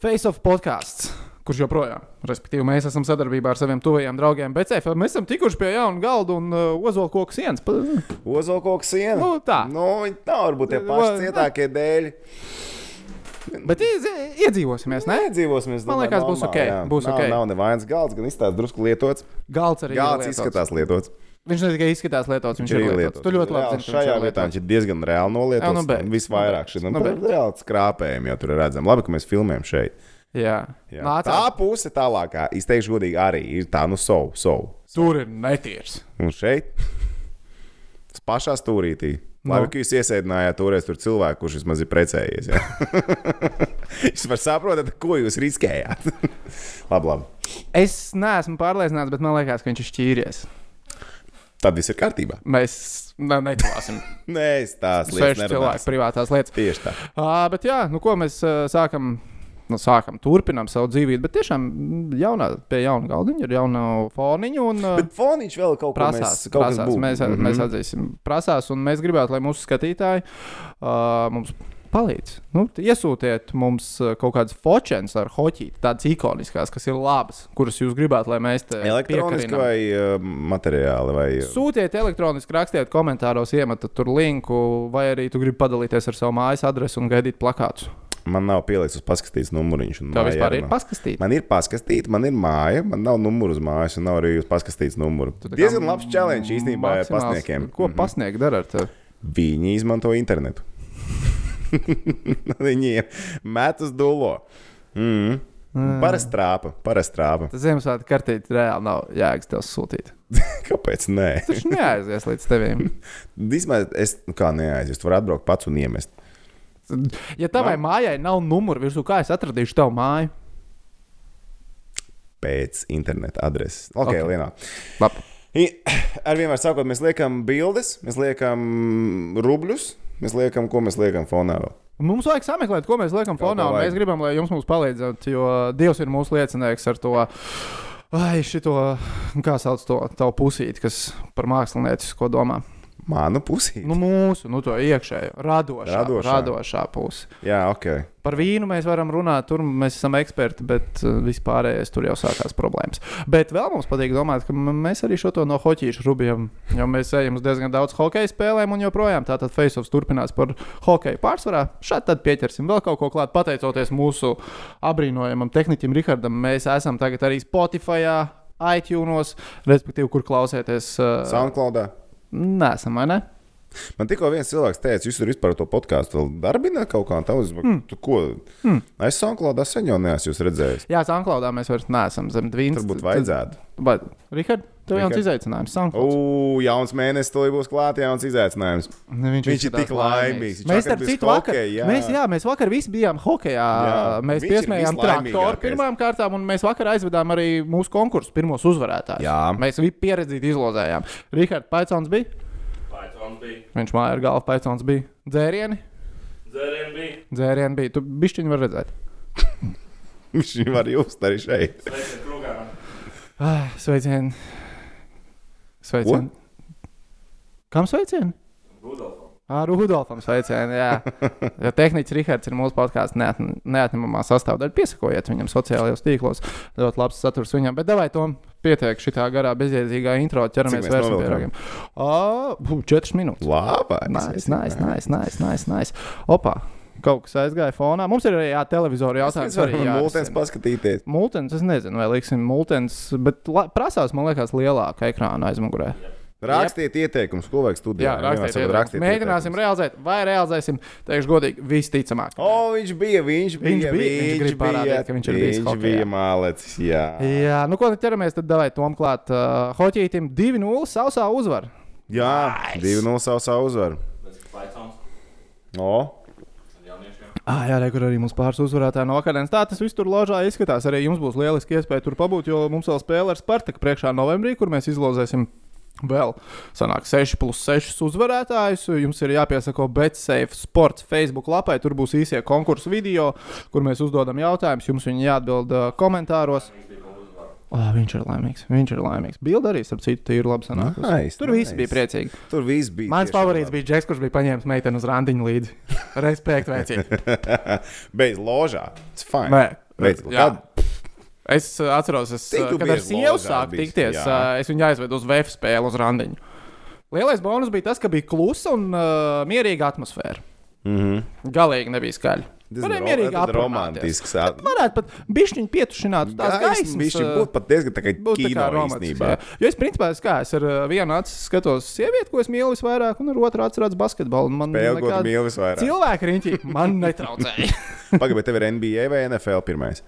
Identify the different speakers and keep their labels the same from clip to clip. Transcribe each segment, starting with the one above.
Speaker 1: Face of podkāsts, kurš joprojām, respektīvi, mēs esam sadarbībā ar saviem tuvajiem draugiem BCF. Mēs esam tikuši pie jauna galda un uh, ozolkoku sienas. Pa-
Speaker 2: Ozolkoks siena.
Speaker 1: Nu, tā.
Speaker 2: Nu, viņi tā varbūt tie
Speaker 1: Vai-
Speaker 2: paši cietākie dēļ.
Speaker 1: Bet iedz- iedzīvosimies, ne?
Speaker 2: Nedzīvosim, es
Speaker 1: Man
Speaker 2: domāju,
Speaker 1: liekas, būs
Speaker 2: normāli,
Speaker 1: ok,
Speaker 2: jā.
Speaker 1: būs
Speaker 2: nav,
Speaker 1: ok.
Speaker 2: Nav nevainas galds, gan izstāsts drusku lietots.
Speaker 1: Galds arī ir
Speaker 2: Galds
Speaker 1: lietots.
Speaker 2: izskatās lietots.
Speaker 1: Viņš ne tikai izskatās lietots, viņš ir lietots. Tu ļoti labi
Speaker 2: Reāli
Speaker 1: zini, ka viņš
Speaker 2: Šajā
Speaker 1: ir
Speaker 2: lietā
Speaker 1: lietots.
Speaker 2: viņš ir diezgan reāli
Speaker 1: Jā,
Speaker 2: nolietots.
Speaker 1: nu
Speaker 2: Jā,
Speaker 1: beidz,
Speaker 2: nu
Speaker 1: nu
Speaker 2: Visvairāk
Speaker 1: beidz,
Speaker 2: šeit nu
Speaker 1: nu beidz.
Speaker 2: reāli skrāpējumi jau tur ir redzami. Labi, ka mēs filmējam šeit.
Speaker 1: Jā,
Speaker 2: Jā.
Speaker 1: nāc.
Speaker 2: Tā puse tālākā, izteikšu godīgi, arī ir tā, nu, savu, savu.
Speaker 1: Tur ir netīrs.
Speaker 2: Un šeit, tas pašā stūrītī.
Speaker 1: Nu.
Speaker 2: Labi, ka jūs iesēdinājāt toreiz tur cilvēku, kurš vismaz ir precējies. jā. Jūs varat saprotat, ko jūs riskējāt. labi, labi.
Speaker 1: Es neesmu pārliecināts, bet man liekas, ka viņš ir šķīries.
Speaker 2: Tad viss ir kārtībā.
Speaker 1: Mēs ne, neklāsim
Speaker 2: Nē, es tās lietas
Speaker 1: svešu
Speaker 2: nerunāšu.
Speaker 1: cilvēku privātās lietas.
Speaker 2: Tieši tā.
Speaker 1: À, bet jā, nu ko mēs ā, sākam. Nu, sākam, turpinām savu dzīvību, bet tiešām mm, jaunā, pie jauna galdiņa ir jauna foniņa. Un, ā,
Speaker 2: Bet foniņš vēl kaut ko
Speaker 1: prasās,
Speaker 2: mēs, kaut Mhm.
Speaker 1: prasās,
Speaker 2: kas būtu.
Speaker 1: mēs, mm -hmm. mēs atzīsim, prasās, un mēs gribētu, lai mūsu skatītāji uh, mums palīdz. Nu, t- iesūtiet mums uh, kaut kādas focēnas ar hoķīti, tādas ikoniskas, kas ir labas, kuras jūs gribētu, lai mēs te
Speaker 2: Elektroniski
Speaker 1: piekarinām.
Speaker 2: vai uh, materiāli? Vai, uh,
Speaker 1: Sūtiet elektroniski, rakstiet komentāros, iemetat tur linku, vai arī tu gribi padalīties ar savu mājas adresi un gaidīt plakātus.
Speaker 2: man nav pielicis paskatīts numuriņš. un
Speaker 1: Tā
Speaker 2: māja
Speaker 1: vispār
Speaker 2: arī
Speaker 1: ir
Speaker 2: nav.
Speaker 1: paskatīt.
Speaker 2: Man ir paskatīta, man ir māja, man nav numuru uz mājas, un nav arī uz paskatīts numuru.
Speaker 1: tā kā
Speaker 2: Diezgan labs challenge īstenībā Mhm.
Speaker 1: Maksimāls- Mhm.
Speaker 2: pasniegumiem.
Speaker 1: Ko pasniegt dara ar tevi?
Speaker 2: Viņi izmanto internetu. Viņiem met uz dūlo. Mm. Parasti trāpa, parasti trāpa.
Speaker 1: Tas Ziemassvētku kartīte reāli nav jēgas tev sūtīt.
Speaker 2: Kāpēc? Nē,
Speaker 1: Tas taču neaizies līdz tevim.
Speaker 2: Vismaz es nu kā neaizies. Tu vari atbraukt pats un iemest.
Speaker 1: Ja tavai mājai nav numura virsū, kā es atradīšu tavu māju?
Speaker 2: Pēc interneta adreses. Okay,
Speaker 1: Ok.
Speaker 2: okay.
Speaker 1: Labi.
Speaker 2: I- Ar vienmēr sakot, mēs liekam bildes, mēs liekam rubļus, mēs liekam, ko mēs liekam fonā. Vēl.
Speaker 1: Mums vajag sameklēt, ko mēs liekam
Speaker 2: ko
Speaker 1: fonā. un
Speaker 2: vajag.
Speaker 1: Mēs gribam, lai jums mums palīdzat, jo Dievs ir mūsu liecinieks ar to. Ai, šito, kā sauc to tavu pusīti, kas par mākslinieci, ko domā?
Speaker 2: Manu pusī.
Speaker 1: Nu, mūsu, nu, to iekšējo, radošā,
Speaker 2: Radošā.
Speaker 1: radošā. radošā pusi.
Speaker 2: Jā, ok.
Speaker 1: Par vīnu mēs varam runāt, tur mēs esam eksperti, bet uh, vispārējais tur jau sākās problēmas. Bet vēl mums patīk domāt, ka m- mēs arī šo to no hoķīšu rubjiem, jo mēs ejam uz diezgan daudz hokeja spēlēm un joprojām tātad Faceovs turpinās par hokeju pārsvarā. Šādi tad pieķersim vēl kaut ko klāt. Pateicoties mūsu abrīnojamam tehnikam Rihardam, mēs esam tagad arī Spotify. iTunes, respektīvi, kur klausieties. Uh,
Speaker 2: Soundcloudā.
Speaker 1: Nē, esam vai ne?
Speaker 2: Man tikko viens cilvēks teica, jūs tur vispār to podkāstu vēl darbināt kaut kā tādu. Mm. Tu ko? Mm. Es Sanklādā sen jau neesmu jūs redzējis.
Speaker 1: Jā, Sanklaudā mēs vairs neesam zem dvīns.
Speaker 2: Tur būtu vajadzētu.
Speaker 1: Vai, Rihard, tev jau
Speaker 2: Rihard.
Speaker 1: ir izaicinājums. Soundclouds.
Speaker 2: Ugh, jauns mēnesis, to būs klāts, jauns izaicinājums.
Speaker 1: Ne, Viņš,
Speaker 2: Viņš ir
Speaker 1: izskatās
Speaker 2: tik laimīgs. Viņš
Speaker 1: Mēs
Speaker 2: vakar
Speaker 1: tam
Speaker 2: bija
Speaker 1: citu vakar,
Speaker 2: hokejā, jā.
Speaker 1: mēs, jā, mēs vakar visi bijām hokejā. Jā,
Speaker 2: Jā,
Speaker 1: mēs
Speaker 2: viņš ir
Speaker 1: piesmējām traktoru
Speaker 2: vislaimīgākais.
Speaker 1: pirmām kārtām, un mēs vakar aizvedām arī mūsu konkursu pirmos uzvarētājus.
Speaker 2: Jā.
Speaker 1: Mēs viņu pieredzīgi izlozējām. Rihards Paicons bija,
Speaker 3: Python bija.
Speaker 1: viņš māja ar galvu Paicons bija. Dzērieni,
Speaker 3: Dzērieni bija.
Speaker 1: dzērieni bija. Tu bišķiņu var redzēt.
Speaker 2: Viņš var jūs arī šeit.
Speaker 3: Sveiciet krūgā.
Speaker 1: Ah, Sveicieni. Sveicieni. Kam sveicieni?
Speaker 3: Rudolfam.
Speaker 1: Ar Rudolfam sveicienu. Jā, jo tehnicis Rahards ir mūsu podkāstu neat, neatņemamā sastāvdaļa. Piesakojiet viņam sociālajos tīklos. Ļoti labs saturs viņam. Bet davai tom pietiek šitā garā, bezjēdzīgā intro. Ķeramies
Speaker 2: mēs
Speaker 1: vairs pie
Speaker 2: novilkam?
Speaker 1: ragiem. Ā, bū, Četras minūtes.
Speaker 2: Labi.
Speaker 1: Nice, nice, nice, nice, nice, nice. Opa, kaut kas aizgāja fonā. Mums ir arī jā, televizora
Speaker 2: Mēs
Speaker 1: jautājums. arī
Speaker 2: varam
Speaker 1: jārisina.
Speaker 2: mūtens paskatīties.
Speaker 1: Multens, es nezinu, vai liksim multens, bet la, prasās, man liekas, lielāka ekrāna aizmugurē.
Speaker 2: Rakstiet ieteikumus, ko vajag studijā.
Speaker 1: Jā, rakstiet,
Speaker 2: Vienmēr
Speaker 1: ieteikumus.
Speaker 2: sakot, rakstiet
Speaker 1: Mēģināsim
Speaker 2: ieteikumus.
Speaker 1: realizēt, vai realizēsim, teikšu godīgi, visticamāk.
Speaker 2: O, viņš bija, viņš bija,
Speaker 1: bija, viņš grib parādīt, ka viņš ir bijis
Speaker 2: viņš
Speaker 1: hokejā.
Speaker 2: bija mālecis. Jā,
Speaker 1: Jā, nu ko tad ķeramies? Tad davai tom klāt. Uh, Hoķītim 2-0 sausā uzvara.
Speaker 2: jā divi no savas uzvaru.
Speaker 3: Pēc Pythons.
Speaker 2: O,
Speaker 3: Ar jauniešiem.
Speaker 1: Ah, jā, re, kur arī mums pāris uzvarētāji no akadēmijas. Tā tas viss tur ložā izskatās. Arī jums būs lieliski iespēja tur pabūt, jo mums vēl spēle ar Spartaku priekšā novembrī, kur mēs izlozēsim. Vēl sanāk 6 plus 6 uzvarētājus. Jums ir jāpiesako BetSafe Sports Facebook lapai. Tur būs īsie konkursu video, kur mēs uzdodam jautājumus. Jums viņi jāatbild uh, komentāros. Oh, viņš ir laimīgs. Viņš ir laimīgs. Bilde arī, starp citu, ir labi sanākusi.
Speaker 2: Nice,
Speaker 1: Tur viss
Speaker 2: nice.
Speaker 1: bija priecīgi.
Speaker 2: tur viss bija.
Speaker 1: Mans
Speaker 2: tiešām
Speaker 1: favorīts bija Džeks, kurš bija paņēmis meiteni uz randiņu līdzi. Respekt, veicīgi.
Speaker 2: Beidz ložā. Tas fajn.
Speaker 1: Nē,
Speaker 2: Veids,
Speaker 1: Jā.
Speaker 2: kāda
Speaker 1: Es uh, atceros, es,
Speaker 2: Cik
Speaker 1: uh,
Speaker 2: nu tu
Speaker 1: kad ar
Speaker 2: bieži
Speaker 1: sievu
Speaker 2: ložā
Speaker 1: sāku
Speaker 2: biji?
Speaker 1: tikties,
Speaker 2: Jā.
Speaker 1: uh, es viņu aizvedu uz VF spēli uz randiņu. Lielais bonus bija tas, ka bija klusa un uh, mierīga atmosfēra.
Speaker 2: Mhm.
Speaker 1: Mm -hmm. Galīgi nebija skaļa. Varēja mierīgi
Speaker 2: ir
Speaker 1: aprunāties.
Speaker 2: romantisks. ā,
Speaker 1: Varētu pat bišķiņu pietušināt uz tās gaismas.
Speaker 2: Viņš
Speaker 1: ā,
Speaker 2: būtu pat diezgan tā kā
Speaker 1: Būtu tā
Speaker 2: kino
Speaker 1: kā romantiski.
Speaker 2: īstenībā.
Speaker 1: jā. Jo es principā es, kā, es ar uh, vienu acu skatos sievieti, ko es mīlu visvairāk, un ar otru atceros basketbolu. un Man
Speaker 2: Pēlgot
Speaker 1: nekāda-
Speaker 2: mīlu visvairāk.
Speaker 1: Cilvēki riņķī man netraucēja.
Speaker 2: Pagaid, bet tev ir NBA vai NFL pirmais?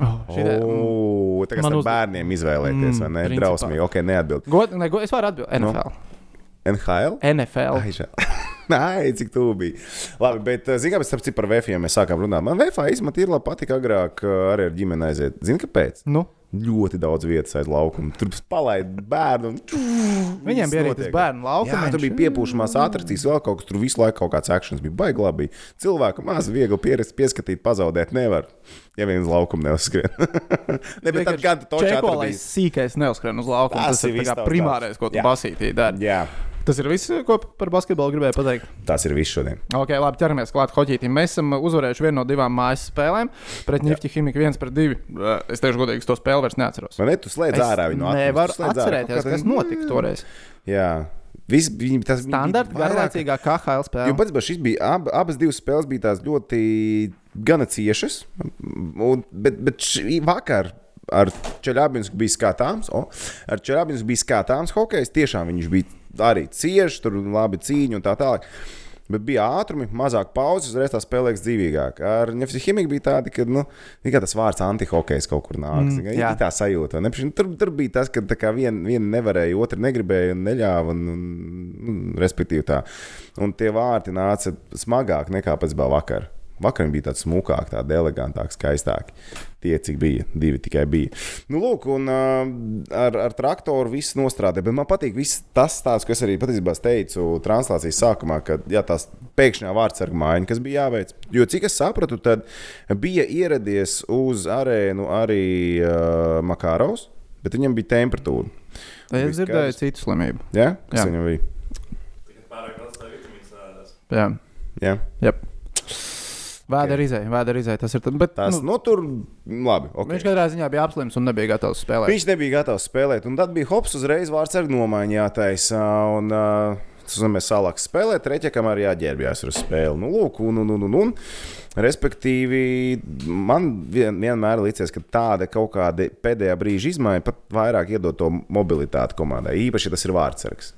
Speaker 1: oh, šitā-
Speaker 2: O, tā kā
Speaker 1: Man
Speaker 2: starp
Speaker 1: uz-
Speaker 2: bērniem izvēlēties, vai ne?
Speaker 1: mm. principā.
Speaker 2: Drausmīgi, ok, neatbild.
Speaker 1: God, ne, god, es varu atbildēt.
Speaker 2: Nu.
Speaker 1: NFL.
Speaker 2: NHL?
Speaker 1: NFL.
Speaker 2: Ai, žēl. Nē, cik tu biji. Labi, bet, zinām, starp citu par VFiem mēs sākām runāt. Man VFā īstenībā tīri labi patika agrāk uh, arī ar ģimeni aiziet. Zini, kāpēc?
Speaker 1: Nu,
Speaker 2: Ļoti daudz vietas aiz laukuma. Tur palaid bērnu. Un...
Speaker 1: viņiem bija arī tas
Speaker 2: notiek.
Speaker 1: bērnu laukums.
Speaker 2: Jā, tur bija piepūšamās atrakcijas, vēl kaut kas tur visu laiku kaut kāds akcents bija. Baigi labi. Cilvēku maz viegli pierast, pieskatīt, pazaudēt nevar. Ja viens laukums neuzskrien. ne, bet tad gan to
Speaker 1: Čekolais
Speaker 2: čekolais.
Speaker 1: sīkais neuzskrien uz laukuma.
Speaker 2: Tas
Speaker 1: Tas, tas
Speaker 2: ir
Speaker 1: ir tā
Speaker 2: viss
Speaker 1: kā
Speaker 2: tavs
Speaker 1: primārais,
Speaker 2: darbs.
Speaker 1: ko tu
Speaker 2: Jā.
Speaker 1: basītīji dari.
Speaker 2: Jā,
Speaker 1: Tas ir viss, ko par basketbolu gribēju pateikt.
Speaker 2: tas ir viss šodien.
Speaker 1: Ok, labi, ķeramies klāt hoķītiem. Mēs esam uzvarējuši vienu no divām mājas spēlēm. Pret Nifti Himiku 1 pret 2. Es teikšu godīgi, es to spēli vairs neatceros.
Speaker 2: Vai ne? Tu slēdz ārā viņu no
Speaker 1: nevaru
Speaker 2: atmiņas, tu slēdz ārā.
Speaker 1: atcerēties,
Speaker 2: Kaut kā
Speaker 1: kas
Speaker 2: tā-
Speaker 1: notika toreiz.
Speaker 2: Jā, viss bija tas viņi bija
Speaker 1: Standarta
Speaker 2: vairāk-
Speaker 1: garlaicīgā KHL
Speaker 2: Jo
Speaker 1: spēlē.
Speaker 2: pats bija šis, bija ab, abas divas spēles bija tās ļoti gana ciešas. Un, bet, bet šī vakar ar Čeļābiņu bija skatāms, o, ar Čeļābiņu bija skatāms hokejs. Tiešām viņš bija arī cieši, tur bija labi cīņa un tā tālāk. Bet bija ātrumi, mazāk pauzes, uzreiz tā spēlēja dzīvīgāk. Ar Nefrihimiku bija tāda, ka nu, tikai tas vārds antihokejs kaut kur nāk. Mm,
Speaker 1: jā.
Speaker 2: jā, tā sajūta. vai ne? Pš, nu, Tur, tur bija tas, ka tā kā viena vien nevarēja, otra negribēja un neļāva. Un, un, un, respektīvi, tā. Un tie vārti nāca smagāk nekā pēc tam vakar. Vakar viņi bija tāds smukāk, tāds elegantāks, skaistāks. Tie, cik bija, divi tikai bija. Nu, lūk, un ā, ar, ar traktoru viss nostrādāja. Bet man patīk viss tas stāsts, ko es arī patiesībā teicu translācijas sākumā, ka jā, tās pēkšņā vārdsarga maiņa, kas bija jāveic. Jo cik es sapratu, tad bija ieradies uz arēnu arī uh, Makāraus, bet viņam bija temperatūra.
Speaker 1: Es
Speaker 2: Bija
Speaker 1: dzirdēju
Speaker 2: skaidrs.
Speaker 1: citu slimību.
Speaker 2: Ja? Kas
Speaker 1: Jā.
Speaker 2: viņam bija?
Speaker 3: Tikai pārāk daudz tā vitamīnas ēdas.
Speaker 1: Jā.
Speaker 2: Ja?
Speaker 1: Jep. Vēda okay. izēja, vēda izēja. Tas ir. tad- Bet,
Speaker 2: Tās,
Speaker 1: nu,
Speaker 2: nu, nu, tur labi. Okay.
Speaker 1: Viņš katrā ziņā bija apslims un nebija gatavs spēlēt.
Speaker 2: Viņš nebija gatavs spēlēt, un tad bija hops uzreiz vārds ar nomaiņu jātaisa. Un, ā, Tas nozīmē, ka sālāk spēlēt, reķekam arī jāģērbjas uz spēli. Nu, lūk, un, un, un, un, un. Respektīvi, man vien, vienmēr liekas, ka tāda kaut kāda pēdējā brīža izmaiņa pat vairāk iedod to mobilitāti komandai. Īpaši, ja tas ir vārdsargs.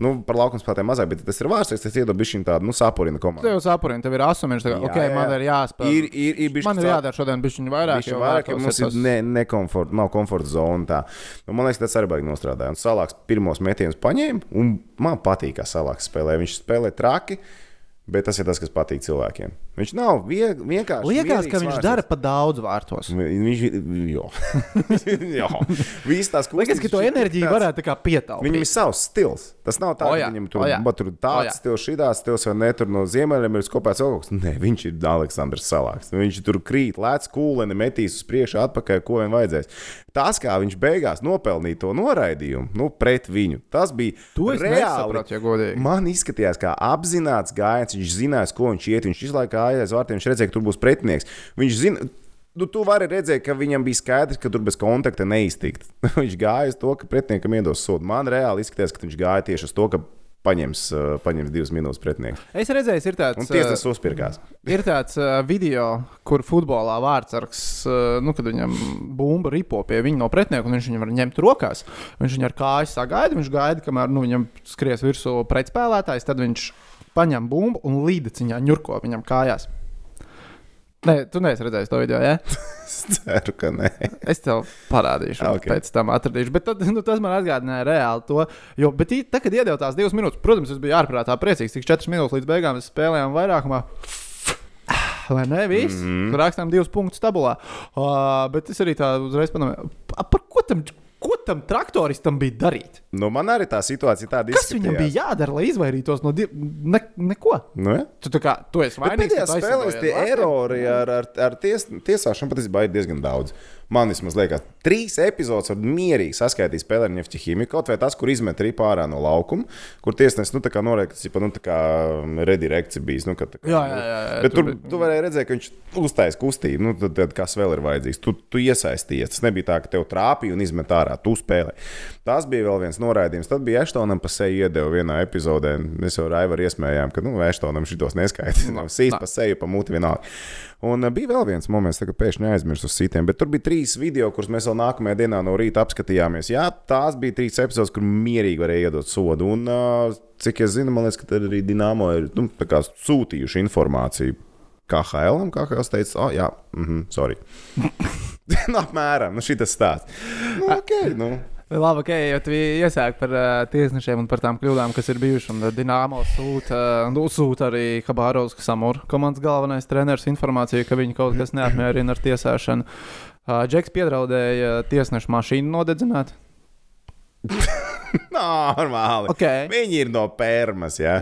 Speaker 2: Nu, par laukuma spēlēm mazāk, bet ja tas ir vārdsargs, tas iedod bišķiņu tādu nu, sapurinu
Speaker 1: Tev
Speaker 2: komandu.
Speaker 1: jau sapurina, tev ir asumēns, ka,
Speaker 2: Jā,
Speaker 1: ok,
Speaker 2: jā, jā.
Speaker 1: man ir jāspēlē.
Speaker 2: Ir- ir- ir bišķi
Speaker 1: man ir
Speaker 2: cel-
Speaker 1: jādara šodien bišķiņu vairāk,
Speaker 2: Viņš ir vairāk, ja mums ir
Speaker 1: tas-
Speaker 2: ne, nekomfort, nav komforta zona. Tā. Nu, man liekas, tas arī baigi nostrādāja. Un Salāks pirmos metienus paņēma, un man patīk, kā Salāks spēlē. Viņš spēlē traki, bet tas ir tas, kas patīk cilvēkiem. Viņš nav vieg, vienkārši.
Speaker 1: Liekas,
Speaker 2: mierīgs
Speaker 1: ka viņš
Speaker 2: vārds.
Speaker 1: dara pa daudz vārtos.
Speaker 2: Vi- Viņš jau visas tās kustības.
Speaker 1: Liekas, ka to
Speaker 2: viņš ir
Speaker 1: enerģiju
Speaker 2: tāds-
Speaker 1: varētu tā kā pietaupīt.
Speaker 2: Viņam ir savs stils. Tas nav
Speaker 1: O,
Speaker 2: tā, ka
Speaker 1: jā,
Speaker 2: viņam
Speaker 1: o,
Speaker 2: tur,
Speaker 1: jā.
Speaker 2: ba, tur
Speaker 1: O, jā.
Speaker 2: tāds stils, šīs stils vai ne, tur no ziemeļiem ir skopēts vēl kaut kas. Nē, viņš ir Aleksandrs Salāks. Viņš tur krīt, lēc kūlēni, metīs uz priekšu, atpakaļ, ko vien vajadzēs. Tas, kā viņš beigās nopelnīja to noraidījumu nu, pret viņu, tas bija
Speaker 1: To es
Speaker 2: reāli.
Speaker 1: nesaprotu, ja godīgi.
Speaker 2: Man izskatījās, kā apzināts gājiens. Viņš zināja, ko viņš iet. Viņš izlaiž gājēju aiz vārtiem, viņš redzēja, ka tur būs pretinieks. Viņš zina, nu, tu vari redzēt, ka viņam bija skaidrs, ka tur bez kontakta neiztikt. viņš gāja uz to, ka pretiniekam iedos sodu. Man reāli izskatījās, ka viņš gāja tieši uz to, ka paņems, uh, paņems divas minūtes pretinieks.
Speaker 1: Es redzēju, ir tāds,
Speaker 2: Un
Speaker 1: uh,
Speaker 2: tiesnesis uzpirkās.
Speaker 1: ir tāds uh, video, kur futbolā vārdsargs, uh, nu, kad viņam bumba ripo pie viņa no pretinieka, un viņš viņu var ņemt rokās. Viņš viņu ar kājas sagaida, viņš gaida, kamēr nu, viņam skries virsū pretspēlētājs, tad viņš paņem bumbu un līdeciņā ņurko viņam kājās. Nē, tu neesi redzējis to video, jā? Ja?
Speaker 2: Es ceru, ka nē.
Speaker 1: Es tev parādīšu,
Speaker 2: Ah,
Speaker 1: okay.
Speaker 2: ok.
Speaker 1: pēc tam atradīšu. Bet tad, nu, tas man atgādināja reāli to. Jo, bet, tī- tā, kad iedod tās divas minūtes, protams, es biju ārprātā priecīgs. Tik četras minūtes līdz beigām mēs spēlējām vairākumā. Vai ne? Viss.
Speaker 2: Mhm.
Speaker 1: Mm -hmm. Ah, Rakstām divus punktus tabulā. Uh, bet es arī tā uzreiz padomāju, "A, par ko tam? Ko tam tam traktoristam bija darīt?
Speaker 2: Nu, man arī tā situācija tāda
Speaker 1: Kas viņam
Speaker 2: izskatījās.
Speaker 1: bija jādara, lai izvairītos no div... ne, neko?
Speaker 2: Nu, ja?
Speaker 1: Tu, tā kā, tu esi
Speaker 2: Bet
Speaker 1: vainīgs.
Speaker 2: Pēdējā
Speaker 1: ka tu
Speaker 2: spēlē
Speaker 1: aizsargājies
Speaker 2: tie
Speaker 1: vārtiem.
Speaker 2: erori ar, ar, ar ties, tiesāšanu patiesībā ir diezgan daudz. Man vismaz liekas, trīs epizodes var mierīgi saskaitīt spēlē ar Nefča ķīmiju. Kaut vai tas, kur izmet ripā ārā no laukuma, kur tiesnesis nu, tā kā norēķis, ka tas ir nu, tā kā redirekcija bijis. Nu, ka, tā kā,
Speaker 1: Jā, jā, jā, jā,
Speaker 2: Bet
Speaker 1: tur
Speaker 2: tur,
Speaker 1: bija-
Speaker 2: tu varēji redzēt, ka viņš uztaisīja kustību. Nu, tad, tad kas vēl ir vajadzīgs? Tu, tu iesaistījies. Tas nebija tā, ka tev trāpīja un izmet ārā. Tu spēlē. Tas bija vēl viens noraidījums. Tad bija Eštonam pa seju iedeva vienā epizodē. Mēs jau ar Aivaru iesmējām, ka nu, Eštonam šitos neskaitām. Sīs pa seju, pa muti vienalga. Un uh, bija vēl viens moments, kad pēkšņi aizmirsu uz sitiem, bet tur bija trīs video, kurus mēs vēl nākamajā dienā no rīta apskatījāmies. Jā, tās bija trīs epizodes, kur mierīgi varēja iedot sodu. Un, uh, cik es zinu, man liekas, ka tad arī Dienāmo ir nu, tā kā sūtījuši informāciju. KHL, KHL teica, oh, jā, mm -hmm, sorry. nu, apmēram, nu, šī tas stāsts. Nu, okay, nu.
Speaker 1: Labi, ok, jau tu iesāki par uh, tiesnešiem un par tām kļūdām, kas ir bijušas. Un Dienāmo sūta, uh, nu, sūta arī Habārovs, kas ir komandas galvenais treneris, informāciju, ka viņu kaut kas neapmierina ar tiesāšanu. Uh, Džeks piedraudēja tiesnešu mašīnu nodedzināt.
Speaker 2: Normāli.
Speaker 1: Okay.
Speaker 2: Viņi ir no Pērmas, jā.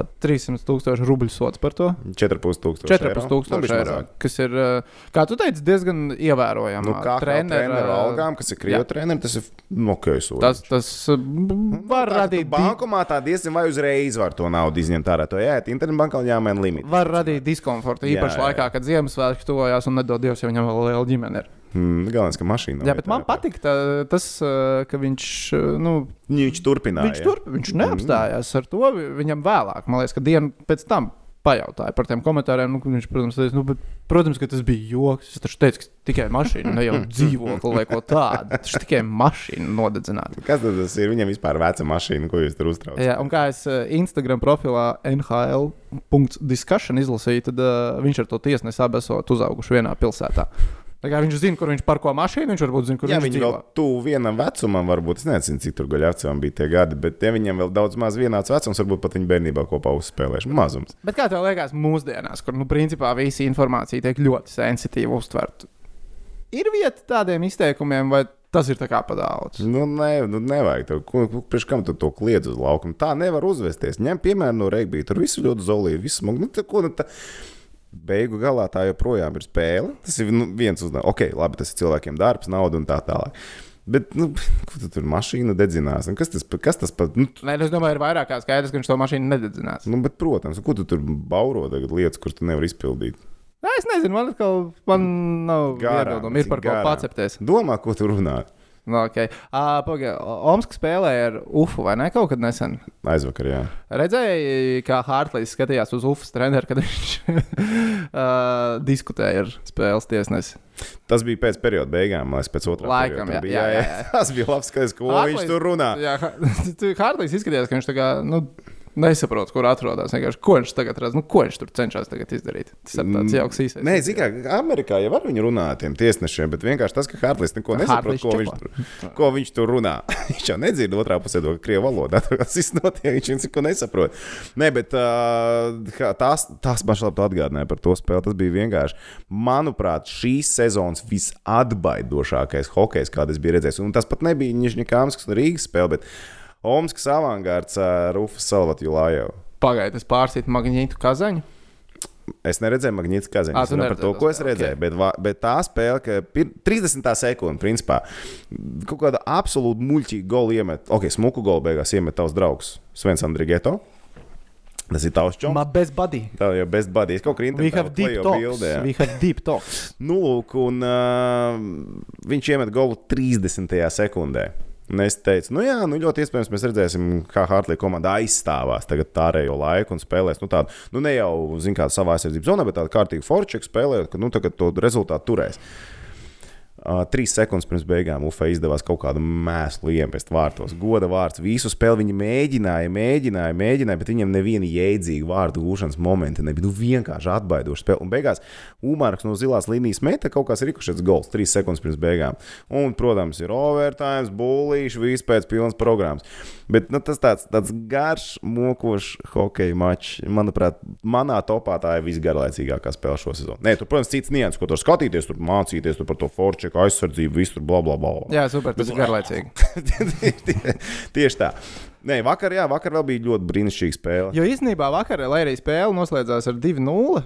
Speaker 1: 300 tūkstoši rubļu sots par to.
Speaker 2: 4,5 tūkstoši.
Speaker 1: 4,5
Speaker 2: Nu,
Speaker 1: tūkstoši
Speaker 2: bišķi
Speaker 1: eiro.
Speaker 2: mazāk.
Speaker 1: Kas ir, ā, kā tu teici, diezgan ievērojama.
Speaker 2: Nu, kā trenerim ar algām, kas ir krievu
Speaker 1: jā.
Speaker 2: trenerim, tas ir nokļuvis. Nu,
Speaker 1: Tas, tas ā, m, var radīt di-
Speaker 2: Bankomā tā diezgan vai uzreiz var to naudu izņemt ārā. To jāiet internetbankā un jāmaina limits.
Speaker 1: var radīt diskomfortu.
Speaker 2: Jā,
Speaker 1: Īpaši jā,
Speaker 2: jā.
Speaker 1: jā. laikā, kad Ziemassvētki tuvojās un nedod Dievs, ja viņam vēl liela ģimene ir.
Speaker 2: Mm, Galvenais, ka mašīna. nav
Speaker 1: Jā, bet
Speaker 2: vietā.
Speaker 1: man patīk tā- tas, ā, ka viņš, ā, nu,
Speaker 2: Viņš turpināja.
Speaker 1: viņš turpina, viņš neapstājās ar to. vi- Viņam vēlāk, man liekas, ka dienu pēc tam. Pajautāju par tiem komentāriem. Nu, ka viņš, protams, teica, nu, bet, protams, ka tas bija joks. Es taču teicu, ka tikai mašīna, ne jau dzīvokli vai ko tādu. Tas tikai mašīna nodedzināta.
Speaker 2: Kas tad tas ir? Viņam vispār veca mašīna, ko jūs tur uztraucat?
Speaker 1: Jā, un kā es eh, Instagram profilā NHL.discussion izlasīju, tad uh, viņš ar to tiesnesi abi esot uzauguši vienā pilsētā. Tā kā viņš zina, kur viņš parko mašīnu, viņš varbūt zina, kur
Speaker 2: Ja
Speaker 1: viņš
Speaker 2: viņi
Speaker 1: dzīvo.
Speaker 2: vēl tuvu vienam vecumam, varbūt es nezinu, cik tur gaļā vecumam bija tie gadi, bet ja viņam vēl daudz maz vienāds vecums, varbūt pat viņa bērnībā kopā uzspēlēšu mazums.
Speaker 1: Bet kā tev liekas, mūsdienās, kur nu, principā visa informācija tiek ļoti sensitīvi uztverta, ir vieta tādiem izteikumiem, vai tas ir tā kā padaudzis?
Speaker 2: Nu, nē, nu, nevajag to. Ko- ko- Priekš kam tu to kliedz uz laukuma? Tā nevar uzvesties. Ņem piemēru no regbija. Tur viss ir ļoti zolīgi, viss smagi. Nu, tā ko, nu, tā... Beigu galā tā joprojām ir spēle. Tas ir nu, viens uzdevums. Ok, labi, tas ir cilvēkiem darbs, nauda un tā tālāk. Bet, nu, ko tu tur mašīna dedzinās? Un Kas tas, pa- kas tas pat? Nu, t-
Speaker 1: Nē, es domāju, ir vairāk kā skaidrs, ka viņš to mašīnu nededzinās.
Speaker 2: nu, bet, protams, ko tu tur bauro tagad lietas, kuras tu nevari izpildīt?
Speaker 1: Nē, es nezinu, man, atkal, man nav
Speaker 2: Garām,
Speaker 1: iebildumu. Ir par ko
Speaker 2: garām.
Speaker 1: pacepties.
Speaker 2: Domā, ko tu runā?
Speaker 1: Nu, Okay. Uh, Pagaidā, Omska spēlēja ar UFU vai ne kaut kad nesen?
Speaker 2: Aizvakar, jā.
Speaker 1: Redzēji, kā Hārtaļs skatījās uz UFU treneru, kad viņš uh, diskutēja ar spēles tiesnesi.
Speaker 2: Tas bija pēc perioda beigām, lai es pēc otrā
Speaker 1: Laikam,
Speaker 2: perioda
Speaker 1: jā,
Speaker 2: tur biju.
Speaker 1: jā, jā, jā.
Speaker 2: Tas bija labs skaits, ko
Speaker 1: Hartlis-
Speaker 2: viņš tur runā.
Speaker 1: Jā, Hārtaļs izskatījās, ka viņš tā kā. Nu, Nesaprotu, kur atrodas. Vienkārši, Ko viņš tagad redz? Nu, ko viņš tur cenšas tagad izdarīt? Tas ir tāds jauks īsais.
Speaker 2: Nē, zinām, kā Amerikā jau var viņu runāt ar tiem tiesnešiem, bet vienkārši tas, ka Hartlis neko nesaprot,
Speaker 1: Hartlis
Speaker 2: ko, viņš
Speaker 1: čepo.
Speaker 2: tur- ko viņš tur runā. viņš jau nedzird otrā pusē to krievu valodu, tas viss notiek, viņš neko nesaprot. Nē, bet uh, tās, tās man šādi atgādināja par to spēli. Tas bija vienkārši, manuprāt, šīs sezonas visatbaidošākais hokejs, kādas bija redzējis. Un tas pat nebija Nižņikāms, kas ir Rīgas spēle, bet Omskas avangards ar Rufu Salvatu Lājevu.
Speaker 1: Pagaidiet, es pārsītu magnītu kazaņu.
Speaker 2: Es neredzēju magnītisku kazaņu.
Speaker 1: Ā,
Speaker 2: Es
Speaker 1: Ah, tu
Speaker 2: runāju par to,
Speaker 1: neredzēji to
Speaker 2: ko es
Speaker 1: spēli,
Speaker 2: redzēju. Okay. Bet, va- bet tā spēle, ka pir- 30 sekundes, principā, kaut kāda absolūti muļķīga gola iemet. Ok, smuku gola beigās iemet tavs draugs Svens Andrigeto. Tas ir tavs čoms.
Speaker 1: Man bez badī.
Speaker 2: Tā jau bez badīs. Kaut kā
Speaker 1: We have deep talks.
Speaker 2: bildē.
Speaker 1: We have deep talks.
Speaker 2: Nu, lūk, un uh, viņš iemet golu 30. sekundē. Un es teicu, nu jā, nu ļoti iespējams, mēs redzēsim, kā Hartlīna komanda aizstāvās tagad pārējo laiku un spēlēs. Nu, tādu, nu ne jau, zin kā, savā aizsardzības zonā, bet tādu kārtīgu forčeku spēlējot, ka, nu, tagad to rezultātu turēs. Uh, trīs sekundes pirms beigām UFO izdevās kaut kādu mēslu iemest vārtos. Goda vārds. Visu spēli viņi mēģināja, mēģināja, mēģināja, bet viņiem neviena jēdzīga vārdu gūšanas momenta nebija. Nu, vienkārši atbaidoša spēle. Un beigās Umarks no zilās līnijas meta kaut kāds rikušs gols trīs sekundes pirms beigām. Un, protams, ir overtime, būlīši, vispēc pilnas programmas. Bet nu, tas tāds, tāds garš, mokošs hockey mačs. Manuprāt, manā topā tā ir visgarlaicīgākā spēle šo sezonu. Nē, tur, protams, cits nianses, ko tur skatīties, tur mācīties tur par to forču tiek aizsardzība, visur bla bla bla.
Speaker 1: Jā, super, tas ir garlaicīgi.
Speaker 2: Tieši tā. Nē, vakar, jā, vakar vēl bija ļoti brīnišķīga spēle.
Speaker 1: Jo īstenībā vakarā, lai arī spēle noslēdzās ar 2-0, uh,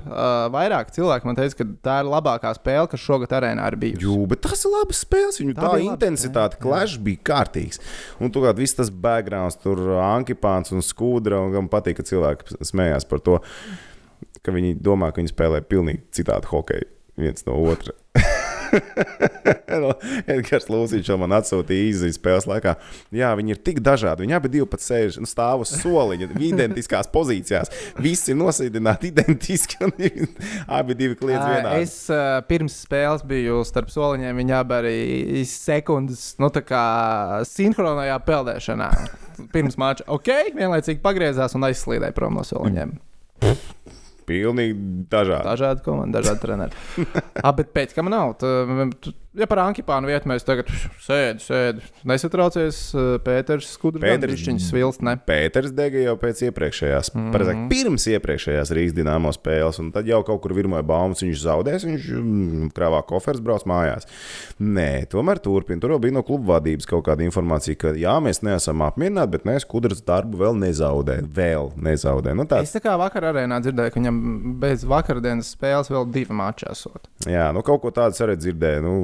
Speaker 1: vairāk cilvēki man teica, ka tā ir labākā spēle, kas šogad arēnā ir bijusi.
Speaker 2: Jū, bet tas ir labs spēles. Viņu
Speaker 1: Tā
Speaker 2: tā, tā
Speaker 1: bija laba
Speaker 2: intensitāte, klāšs bija kārtīgs. Un tur bija viss tas backgrounds, tur ankipāns un skūdra. Un man patīk, ka cilvēki smējās par to, ka viņi domā, ka viņi spēlē pilnīgi citādi hokeju viens no otra. Nu, Edgars Lūsis jau man atsūtīja īsi spēles laikā. Jā, viņi ir tik dažādi. Viņi abi divi pat sēž un stāv uz soliņa, identiskās pozīcijās. Visi ir nosēdināti identiski, un abi divi kliedz
Speaker 1: Ā,
Speaker 2: vienā.
Speaker 1: Es uh, pirms spēles biju starp soliņiem. Viņa abi arī iz sekundes, nu, tā kā sinhronajā peldēšanā. Pirms mača, ok, vienlaicīgi pagriezās un aizslīdēja prom no soliņiem.
Speaker 2: Pilnīgi dažādi.
Speaker 1: Dažādi komandi, dažādi treneri. ah, bet pēc tam nav. Tā, tu- ja par Ankipānu vietu mēs tagad sēdam, sēdam. Nesatraucies, eh, Pēters, Skudrs,
Speaker 2: Pēters-
Speaker 1: Pēters, Vilns. Ne?
Speaker 2: Pēters dega jau pēc
Speaker 1: Mhm.
Speaker 2: iepriekšējās, mm -hmm. pareizāk, pirms iepriekšējās Rīgas dīnāmo spēles, un tad jau kaut kur virmoja baumas, viņš zaudēs, viņš mm, krāvā koferis, brauc mājās. Nē, tomēr turpina. Tur jau bija no kluba vadības kaut kāda informācija, ka jā, mēs neesam apmierināti, bet mēs kudras darbu vēl nezaudējam. Vēl nezaudējam. Nu, tāds,
Speaker 1: Es tā kā vakarā arēnā dzirdēju, ka viņam bez vakardienas spēles vēl divi mači esot.
Speaker 2: jā, nu, kaut ko tādu arī dzirdēju. Nu,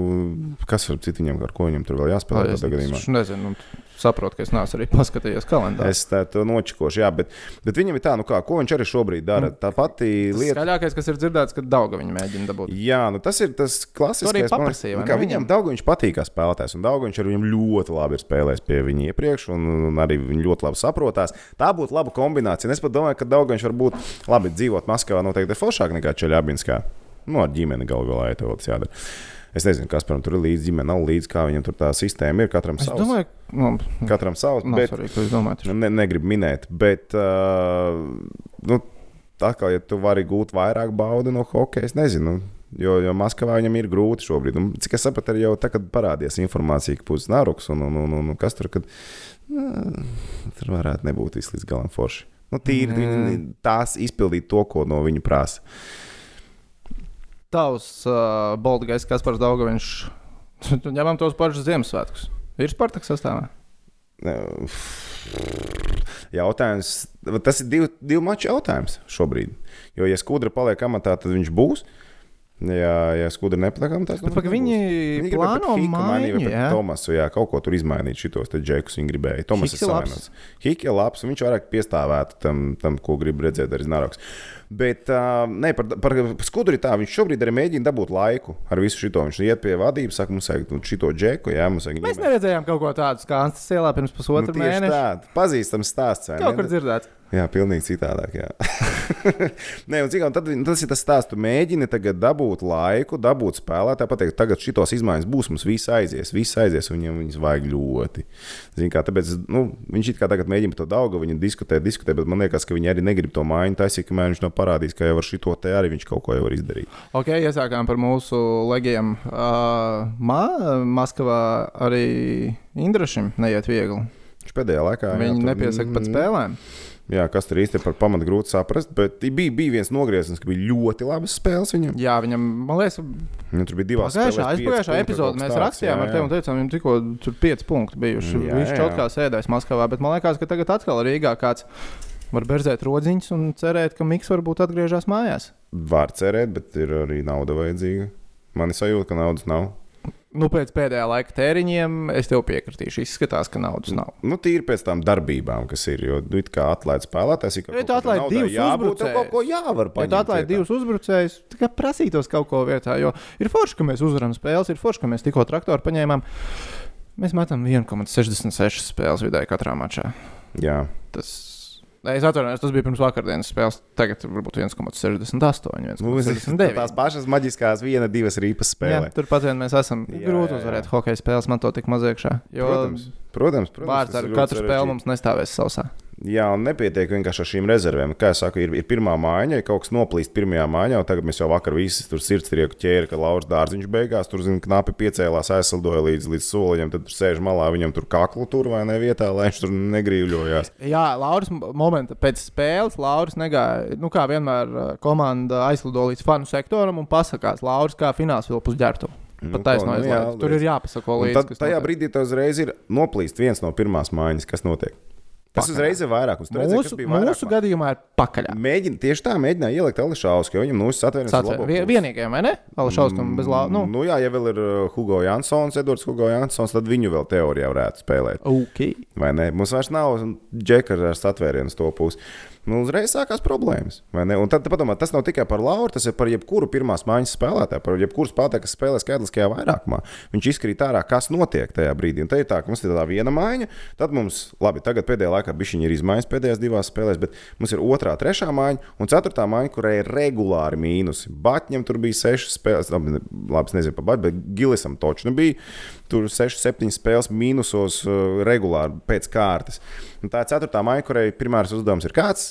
Speaker 2: kas ar citu viņam, ar ko viņam tur vēl jāspēlē?
Speaker 1: es
Speaker 2: tādā gadījumā?
Speaker 1: es nezinu, un saprotu, ka es neesmu arī paskatījies kalendārā.
Speaker 2: Es tā- to nočikošu, jā, bet, bet viņam ir tā, nu kā, ko viņš arī šobrīd dara. Tā pati
Speaker 1: Mm. Tas
Speaker 2: lieta.
Speaker 1: skaļākais, kas ir dzirdēts, ka Dauga viņa mēģina dabūt.
Speaker 2: Jā, nu tas ir tas klasiskais.
Speaker 1: To arī
Speaker 2: man
Speaker 1: paprasīja,
Speaker 2: liekas,
Speaker 1: vai
Speaker 2: kā
Speaker 1: ne?
Speaker 2: Viņam daudz viņš patīk kā spēlētājs, un daudz viņš ar viņu ļoti labi ir spēlējis pie viņa iepriekš, un, un arī viņi ļoti labi saprotās. Tā būtu laba kombinācija. Un Es pat domāju, ka daudz viņš var būt labi dzīvot Maskavā, noteikti ir foršāk nekā Čeļabinskā. Nu, ar ģimeni galu galā ja tev tas jādara. Es nezinu, kas param tur ir līdzi, ģimene nav līdzi, kā viņam tur tā sistēma ir. Katram
Speaker 1: Es
Speaker 2: savs.
Speaker 1: domāju, nu,
Speaker 2: Katram savs,
Speaker 1: nav
Speaker 2: bet
Speaker 1: svarīgi, ko jūs domājat.
Speaker 2: Nu, Ne, negribu minēt, bet uh, nu, atkal, ja tu vari gūt vairāk baudu no hokeja, es nezinu. Jo, jo Maskavā viņam ir grūti šobrīd. Un, cik es sapratu, arī jau tagad parādījās informācija, ka būs Nāruks un, un, un, un kas tur, kad nā, tur varētu nebūt viss līdz galam forši. Nu, tīri mm. tās izpildīt to, ko no viņa prasa.
Speaker 1: Tavs uh, Baltgais Kaspars Daugaviņš, tu ņemam tos pašus Ziemassvētkus. Ir Spartaks sastāvā.
Speaker 2: Ne, Jautājums, tas ir divu, divu maču jautājums šobrīd. Jo, ja skudra paliek amatā, tad viņš būs. Ja, ja skudra nepaliek amatā, tad
Speaker 1: Bet paka, viņi
Speaker 2: Viņi gribēja
Speaker 1: plāno
Speaker 2: pret Hiku mainīt,
Speaker 1: maiņu,
Speaker 2: vai
Speaker 1: jā?
Speaker 2: pret Tomasu, jā, kaut ko tur izmainīt šitos te džekus viņa gribēja. Tomas
Speaker 1: Hiks
Speaker 2: ir
Speaker 1: ir labs.
Speaker 2: savainots. Hik ir labs, un viņš vairāk piestāvētu tam, tam ko grib redzēt arī Znaroks. Bet uh, ne, par, par skudri tā, viņš šobrīd arī mēģina dabūt laiku ar visu šito. Viņš iet pie vadības, saka, mums vajag nu, šito džeku, jā, mums vajag.
Speaker 1: Mēs
Speaker 2: ņemt.
Speaker 1: neredzējām kaut ko tādu kā Antsas ielā pirms pusotra nu,
Speaker 2: tieši
Speaker 1: mēneša.
Speaker 2: tā, pazīstams stāsts. vai ne?
Speaker 1: Kaut kur dzirdēts.
Speaker 2: Jā, pilnīgi citādāk. Jā. Nē, un cik, un tad, tas ir tas stāsts. Tu mēģini tagad dabūt laiku, dabūt spēlētāju, pateikt, tagad šitos izmaiņas būs, mums viss aizies, viss aizies, un viņam viņas vajag ļoti. Zini, kā, tāpēc, nu, viņš it kā tagad mēģina par to daudz, viņa diskutē, diskutē, bet man liekas, ka viņi arī negrib to mājiņu taisīt, kamēr viņš nav parādījis, ka jau ar šito te arī viņš kaut ko jau var izdarīt.
Speaker 1: Ok, iesākām par mūsu legiem. Uh, ma Maskavā arī Indrašam neiet viegli.
Speaker 2: Viņš pēdējā laikā jā,
Speaker 1: Viņi
Speaker 2: tur- Mhm.
Speaker 1: nepiesaka pat spēlēm.
Speaker 2: Jā, kas tur īsti ir par pamatu grūti saprast, bet bija, bija viens nogrieziens, ka bija ļoti labas spēles viņam.
Speaker 1: Jā, viņam, man liekas,
Speaker 2: Nu, tur bija divas
Speaker 1: Pagājušā,
Speaker 2: spēles, pieci
Speaker 1: aizpagājušā
Speaker 2: punkti vai kaut
Speaker 1: epizodē
Speaker 2: kas
Speaker 1: mēs
Speaker 2: tāds,
Speaker 1: rakstījām
Speaker 2: jā,
Speaker 1: ar tevi
Speaker 2: jā.
Speaker 1: un teicām, viņam tikko tur pieci punkti bijuši.
Speaker 2: Jā,
Speaker 1: Viņš
Speaker 2: jā.
Speaker 1: čotkā sēdēs Maskavā, bet man liekas, ka tagad atkal Rīgā kāds var berzēt rodziņus un cerēt, ka Miks varbūt atgriežas mājās.
Speaker 2: Var cerēt, bet ir arī nauda vajadzīga. Man ir sajūta, ka naudas nav.
Speaker 1: Nu, pēc pēdējā laika tēriņiem es tev piekritīšu. Izskatās, ka naudas nav.
Speaker 2: Nu, tīri pēc tām darbībām, kas ir. Jo, nu, it kā atlaid spēlētājs, ir kaut
Speaker 1: Ja tu
Speaker 2: kāda
Speaker 1: atlaid
Speaker 2: nauda
Speaker 1: divus
Speaker 2: jābūt, tev kaut ko
Speaker 1: uzbrucējus.
Speaker 2: jāvar
Speaker 1: Ja
Speaker 2: paņemt.
Speaker 1: tu atlaidi
Speaker 2: vietā.
Speaker 1: divus uzbrucējus, tad prasītos kaut ko vietā. Jo ir forši, ka mēs uzvaram spēles, ir forši, ka mēs tikko traktoru paņēmām. Mēs metam 1,66 spēles vidēji katrā mačā.
Speaker 2: Jā,
Speaker 1: Tas, Nē, es atceros, tas bija pirms vakardienas spēles. Tagad varbūt 1,68.
Speaker 2: nu, es- tās
Speaker 1: 1,69.
Speaker 2: pašas maģiskās viena, divas rīpas
Speaker 1: Jā,
Speaker 2: spēlē.
Speaker 1: turpat vien mēs esam.
Speaker 2: Jā,
Speaker 1: Jā, grūti
Speaker 2: jā, jā.
Speaker 1: uzvarēt hokeja spēles, man to tik maz iekšā. Jo
Speaker 2: Protams, protams, protams
Speaker 1: vārds
Speaker 2: tas
Speaker 1: ar
Speaker 2: ir ļoti
Speaker 1: katru
Speaker 2: sarežģīti.
Speaker 1: spēli mums nestāvēs sausā.
Speaker 2: Jā, un nepietiek vienkārši ar šīm rezervēm. Kā jau teicu, ir, ir pirmā māja, ja kaut kas noplīst pirmajā mājā, un tagad mēs jau vakar visi tur sirdsprieku ķēri, ka Lauris Dārziņš beigās tur zina, knapi piecēlās, aizsildoja līdz, līdz soliņam, tad tur sēž malā, viņam tur kaklu tur vai ne vietā, lai viņš tur negrīļojās.
Speaker 1: Jā, Lauris, m- momenta pēc spēles Lauris negāja. Nu, kā vienmēr, eh, komanda aizlido līdz fanu sektoram un pasakās, Lauris, kā fināls vilpus ģērbtu. Pat taisnība,
Speaker 2: jā,
Speaker 1: nu, tur
Speaker 2: līdz-
Speaker 1: ir jāpasako
Speaker 2: Un
Speaker 1: līdzi.
Speaker 2: Tad,
Speaker 1: kas
Speaker 2: tajā
Speaker 1: notiek.
Speaker 2: brīdī tas uzreiz ir noplīst viens no pirmās mājas, kas notiek. Tas
Speaker 1: Pakaļ.
Speaker 2: uzreiz ir vairāk. Mm,
Speaker 1: Mūsu, mūsu gadījumā ir pakaļ.
Speaker 2: Mēģina tieši tā, mēģināja ielikt Ališausku, jo viņam nu satvērs
Speaker 1: Sāc- vie- Vienīgajam, vai ne? Vēl šausmam bez lāča. Nu,
Speaker 2: Nu, jā, ja vēl ir uh, Hugo Jansons, Edvards Hugo Jansons, tad viņu vēl teorijā varētu spēlēt.
Speaker 1: ok.
Speaker 2: Vai ne? Mums vairs nav džekars ar satvērienu uz to pusi. Nu, uzreiz sākās problēmas. vai ne? Un tad padomā, tas nav tikai par Lauru, tas ir par jebkuru pirmās mājas spēlētāju, par jebkuru spēlētāju, kas spēlē skaitliskajā vairākumā. Viņš izkrīt ārā, kas notiek tajā brīdī. Un te ir tā, ka mums ir tā viena maiņa, tad mums, labi, tagad pēdējā laikā bišķiņi ir izmaiņas pēdējās divās spēlēs, bet mums ir otrā, trešā maiņa un ceturtā maiņa, kurai ir regulāri mīnusi. Batņam tur bija sešas spēles, labi, ne- labi es nezinu par Batņu, bet Gilisam točnu bija. Tur 6-7 spēles mīnusos uh, regulāri pēc kārtas. Un tā ir ceturtā maiņa, kurai primārais uzdevums ir kāds.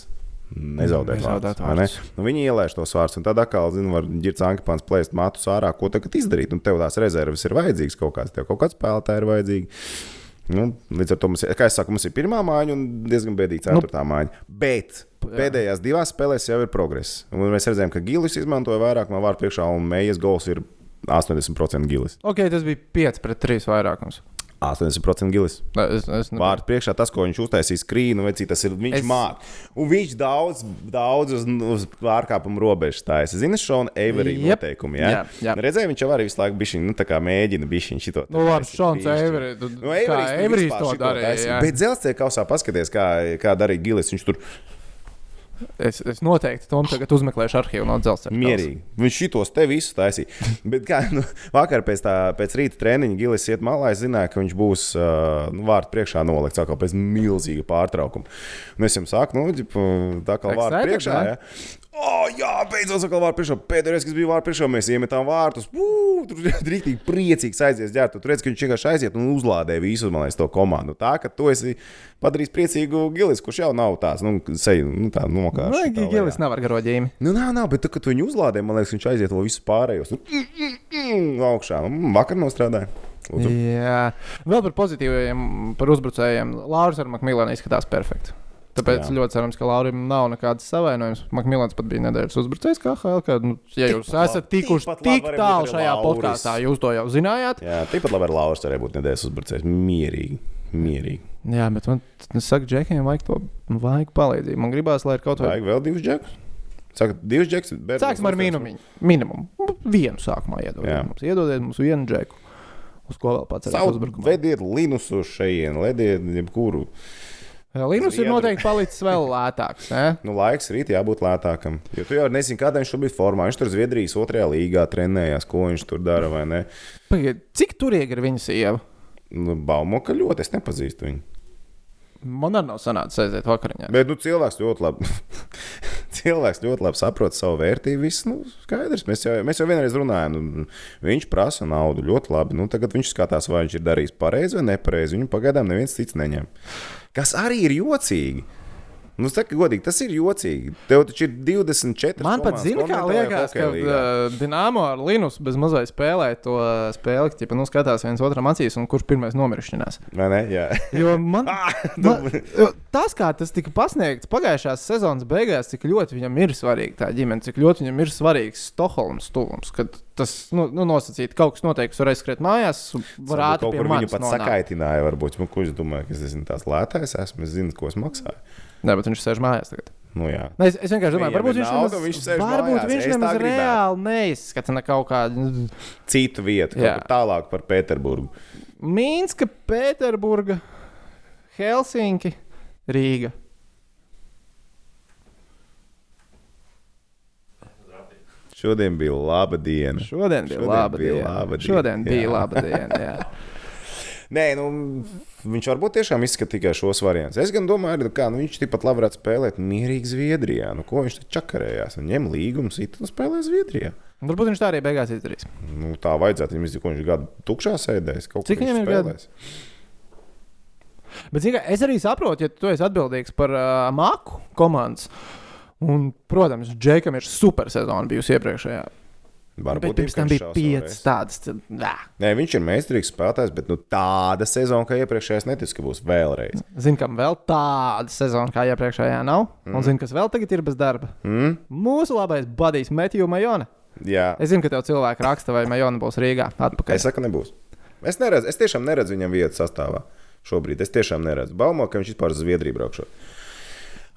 Speaker 2: Nezaudēt,
Speaker 1: Nezaudēt
Speaker 2: vārdus, vai ne? Nu, viņi ielaiž tos vārdus, un tad atkal, zinām, var ģērbt ankepāns, plēst matus ārā, ko tagad izdarīt. Un tev tās rezerves ir vajadzīgas kaut kāds, tev kaut kāds spēlētājs ir vajadzīgs. Nu, līdz ar to mums ir, kā jau teicu, mums ir pirmā māja un diezgan bēdīga ceturtā nu, māja. Bet pēdējās divās spēlēs jau ir progress. Un mēs redzējām, ka Gilis izmantoja vairāk no vārtu priekšā, un Mējas gols ir 80% Gilis.
Speaker 1: Ok, tas bija 5 pret 3 vairākums.
Speaker 2: 80% Gilis.
Speaker 1: Nē, Es, es nu- ne...
Speaker 2: Vārds priekšā tas, ko viņš uztaisīja skrīnu, vai cik tas ir. Viņš
Speaker 1: Es-
Speaker 2: es... māca. Un viņš daudz, daudz uz, uz pārkāpumu robežas stājas. Zini, Šona Eiverija
Speaker 1: Jep.
Speaker 2: yep. noteikumi. Jā,
Speaker 1: Jā, jā.
Speaker 2: Redzēju, viņš jau arī visu laiku bišķiņ, nu, tā kā mēģina bišķiņu šito.
Speaker 1: Nu, labi, Šons
Speaker 2: Bišķiņ.
Speaker 1: Eiverijs.
Speaker 2: Nu,
Speaker 1: Nu,
Speaker 2: Eiverijs, nu,
Speaker 1: Eiverijs
Speaker 2: vispār
Speaker 1: to
Speaker 2: šito
Speaker 1: darīja.
Speaker 2: taisīja.
Speaker 1: jā.
Speaker 2: Bet dzelzceļa kausā paskaties, kā, kā darīja Gilis. Viņš tur
Speaker 1: Es, es noteikti tam tagad uzmeklēšu arhīvu no dzelzceļa.
Speaker 2: Mierīgi. Viņš šitos te visus taisīja. Bet kā nu, vakar pēc, tā, pēc rīta treniņa Gilis iet malā, es zināju, ka viņš būs uh, nu, vārtu priekšā nolikts atkal pēc milzīga pārtraukuma. Un es jums saku, nu, ģip, tā kā vārtu
Speaker 1: Excited,
Speaker 2: priekšā.
Speaker 1: vai?
Speaker 2: Ja? Oh, jā, beidzot, atkal vārtu priekšā. Pēdējais, kas bija vārtu priekšā, mēs iemetām vārtus. Uu, tur drīzāk priecīgs aizies ģērbties. Tur redz, ka viņš vienkārši aiziet un uzlādē visu man liekas, to komandu. Tā ka tu esi padarījis priecīgu Gilis, kurš jau nav tāds, nu, seju, nu, tā nokāpis.
Speaker 1: Nē, Gilis nav ar garo ģīmi.
Speaker 2: Nu, nav, nav, bet tu, kad tu viņu uzlādē, man liekas, viņš aiziet vēl visus pārējos. Nu, mm, mm, mm, augšā. Nu, vakar nostrādāja. Lūdzu.
Speaker 1: Jā, vēl par pozitīviem, par uzbrucējiem. Lauris ar Makmilānu izskatās perfekti. Tāpēc
Speaker 2: Jā.
Speaker 1: Jā. ļoti cerams, ka Laurim nav nekādas savainojumas. Makmilāns pat bija nedēļas uzbrucējs, kā HLK. Nu, ja jūs
Speaker 2: Tikpat
Speaker 1: esat
Speaker 2: labi-
Speaker 1: tikuši
Speaker 2: tikpat labi
Speaker 1: tik
Speaker 2: var būt
Speaker 1: tālu
Speaker 2: arī
Speaker 1: šajā
Speaker 2: Lauris.
Speaker 1: podkāstā, jūs to jau zinājāt.
Speaker 2: Jā, tāpat labi ar Lauras arī būtu nedēļas uzbrucējs. Mierīgi. Mierīgi.
Speaker 1: Jā, bet man t- saka, Džekiem, vajag to vajag palīdzību. Man gribās, lai ir kaut vai.
Speaker 2: Vajag vēl divus džekus. Saka, divus džekus. bet-
Speaker 1: Sāksim ar minimumu. Minimumu. Vienu sākumā
Speaker 2: Jā.
Speaker 1: iedodiet mums. Iedodiet mums vienu džeku. Uz ko vēl pats esat
Speaker 2: Savu
Speaker 1: uzbrukumā?
Speaker 2: vediet Linus uz šejienu, lediet jebkuru.
Speaker 1: Linus ir
Speaker 2: Zviedru.
Speaker 1: noteikti palicis vēl lētāks. Ne?
Speaker 2: Nu, laiks rīt jābūt lētākam. Jo tu jau nezini, kādā viņš šobrīd formā. Viņš tur Zviedrijas otrajā līgā trenējās, ko viņš tur dara vai ne.
Speaker 1: Pagaid, cik turīgi ir viņa sieva?
Speaker 2: Nu, Baumo, ka ļoti es nepazīstu viņu.
Speaker 1: Man arī nav sanācis aiziet vakariņā.
Speaker 2: Bet nu, cilvēks ļoti labi. Cilvēks ļoti labi saprot savu vērtību. Viss, nu, skaidrs, mēs jau, mēs jau vienreiz runājām, nu, viņš prasa naudu ļoti labi. Nu, tagad viņš skatās, vai viņš ir darījis pareizi vai nepareizi. Viņu pagaidām neviens cits neņem. Kas arī ir jocīgi. Nu, saka, godīgi, tas ir jocīgi. Tev taču ir 24.
Speaker 1: Man pat
Speaker 2: komandas
Speaker 1: zina, kā
Speaker 2: komentētāji
Speaker 1: liekas, ka
Speaker 2: hokeja līgā.
Speaker 1: uh, Dienāmo ar Linus bez mazliet spēlē to uh, spēli, ka nu, skatās viens otram acīs un kurš pirmais nomiršķinās.
Speaker 2: Vai ne? Jā.
Speaker 1: Jo man,
Speaker 2: Ah,
Speaker 1: man, jo tas, kā tas tika pasniegts pagājušās sezonas beigās, cik ļoti viņam ir svarīga tā ģimene, cik ļoti viņam ir svarīgs Stokholmas tuvums. Kad tas nu, nu, nosacīts, kaut kas noteikti var aizskriet mājās, var
Speaker 2: Varbūt
Speaker 1: ātri
Speaker 2: kaut
Speaker 1: pie
Speaker 2: kur viņu
Speaker 1: manis
Speaker 2: pat
Speaker 1: nonākt.
Speaker 2: sakaitināja. Varbūt, nu, ko es domāju, ka es esmu tās lētājs, esmu, es zinu, ko es maksāju.
Speaker 1: Nē, bet viņš sēž mājās tagad.
Speaker 2: Nu, jā.
Speaker 1: Nu, Es, es vienkārši domāju,
Speaker 2: Viņam
Speaker 1: varbūt
Speaker 2: ir
Speaker 1: viņš
Speaker 2: nauda,
Speaker 1: nemaz-
Speaker 2: viņš sēž
Speaker 1: varbūt
Speaker 2: mājās,
Speaker 1: viņš
Speaker 2: es tā
Speaker 1: nemaz
Speaker 2: gribētu.
Speaker 1: reāli neizskata ne kaut kādu.
Speaker 2: Citu vietu, kaut
Speaker 1: Jā.
Speaker 2: kur tālāk par Pēterburgu.
Speaker 1: Mīnska, Pēterburga, Helsinki, Rīga.
Speaker 2: Šodien bija laba diena.
Speaker 1: Šodien bija
Speaker 2: Šodien
Speaker 1: laba
Speaker 2: bija
Speaker 1: diena.
Speaker 2: laba diena,
Speaker 1: Šodien bija
Speaker 2: jā.
Speaker 1: laba diena. Jā.
Speaker 2: Nē, nu, viņš varbūt tiešām izskata tikai šos variantus. Es gan domāju, arī, kā nu, viņš tikpat labi varētu spēlēt mierīgi Zviedrijā. Nu, ko viņš tur čakarējās? Un ņem līgumu, sit un spēlē Zviedrijā.
Speaker 1: Un Varbūt viņš tā arī beigās izdarīs.
Speaker 2: Nu, tā vajadzētu viņam izdarīt, ko viņš gadu tukšā sēdēs. Kaut
Speaker 1: Cik
Speaker 2: kur viņš
Speaker 1: viņam ir gadu?
Speaker 2: spēlēs.
Speaker 1: Bet zini kā, es arī saprotu, ja tu esi atbildīgs par uh, māku komandas. Un, protams, Džekam ir super sezona bijusi iepriekšējā.
Speaker 2: Varbūt
Speaker 1: Bet pirms tam bija
Speaker 2: vienkārši šaus
Speaker 1: piecas
Speaker 2: vēlreiz.
Speaker 1: tādas. tad, nā.
Speaker 2: Nē, viņš ir meistarīgs spēlētājs, bet nu, tāda sezona, kā iepriekšējais, netiks, ka būs vēlreiz.
Speaker 1: Zinu, kam vēl tāda sezona kā iepriekšējā nav. Mm. Un zinu, kas vēl tagad ir bez darba. Mm. Mūsu labais buddies Matiju Majona.
Speaker 2: Hm? Jā,
Speaker 1: Es zinu, ka tev cilvēki raksta, vai Majona būs Rīgā. Atpakaļ.
Speaker 2: es saku, nebūs. Es, neredzu, es tiešām neredzu viņam vietu sastāvā šobrīd. Es tiešām neredzu. Baumo, ka viņš vispār uz Zviedriju braukšot.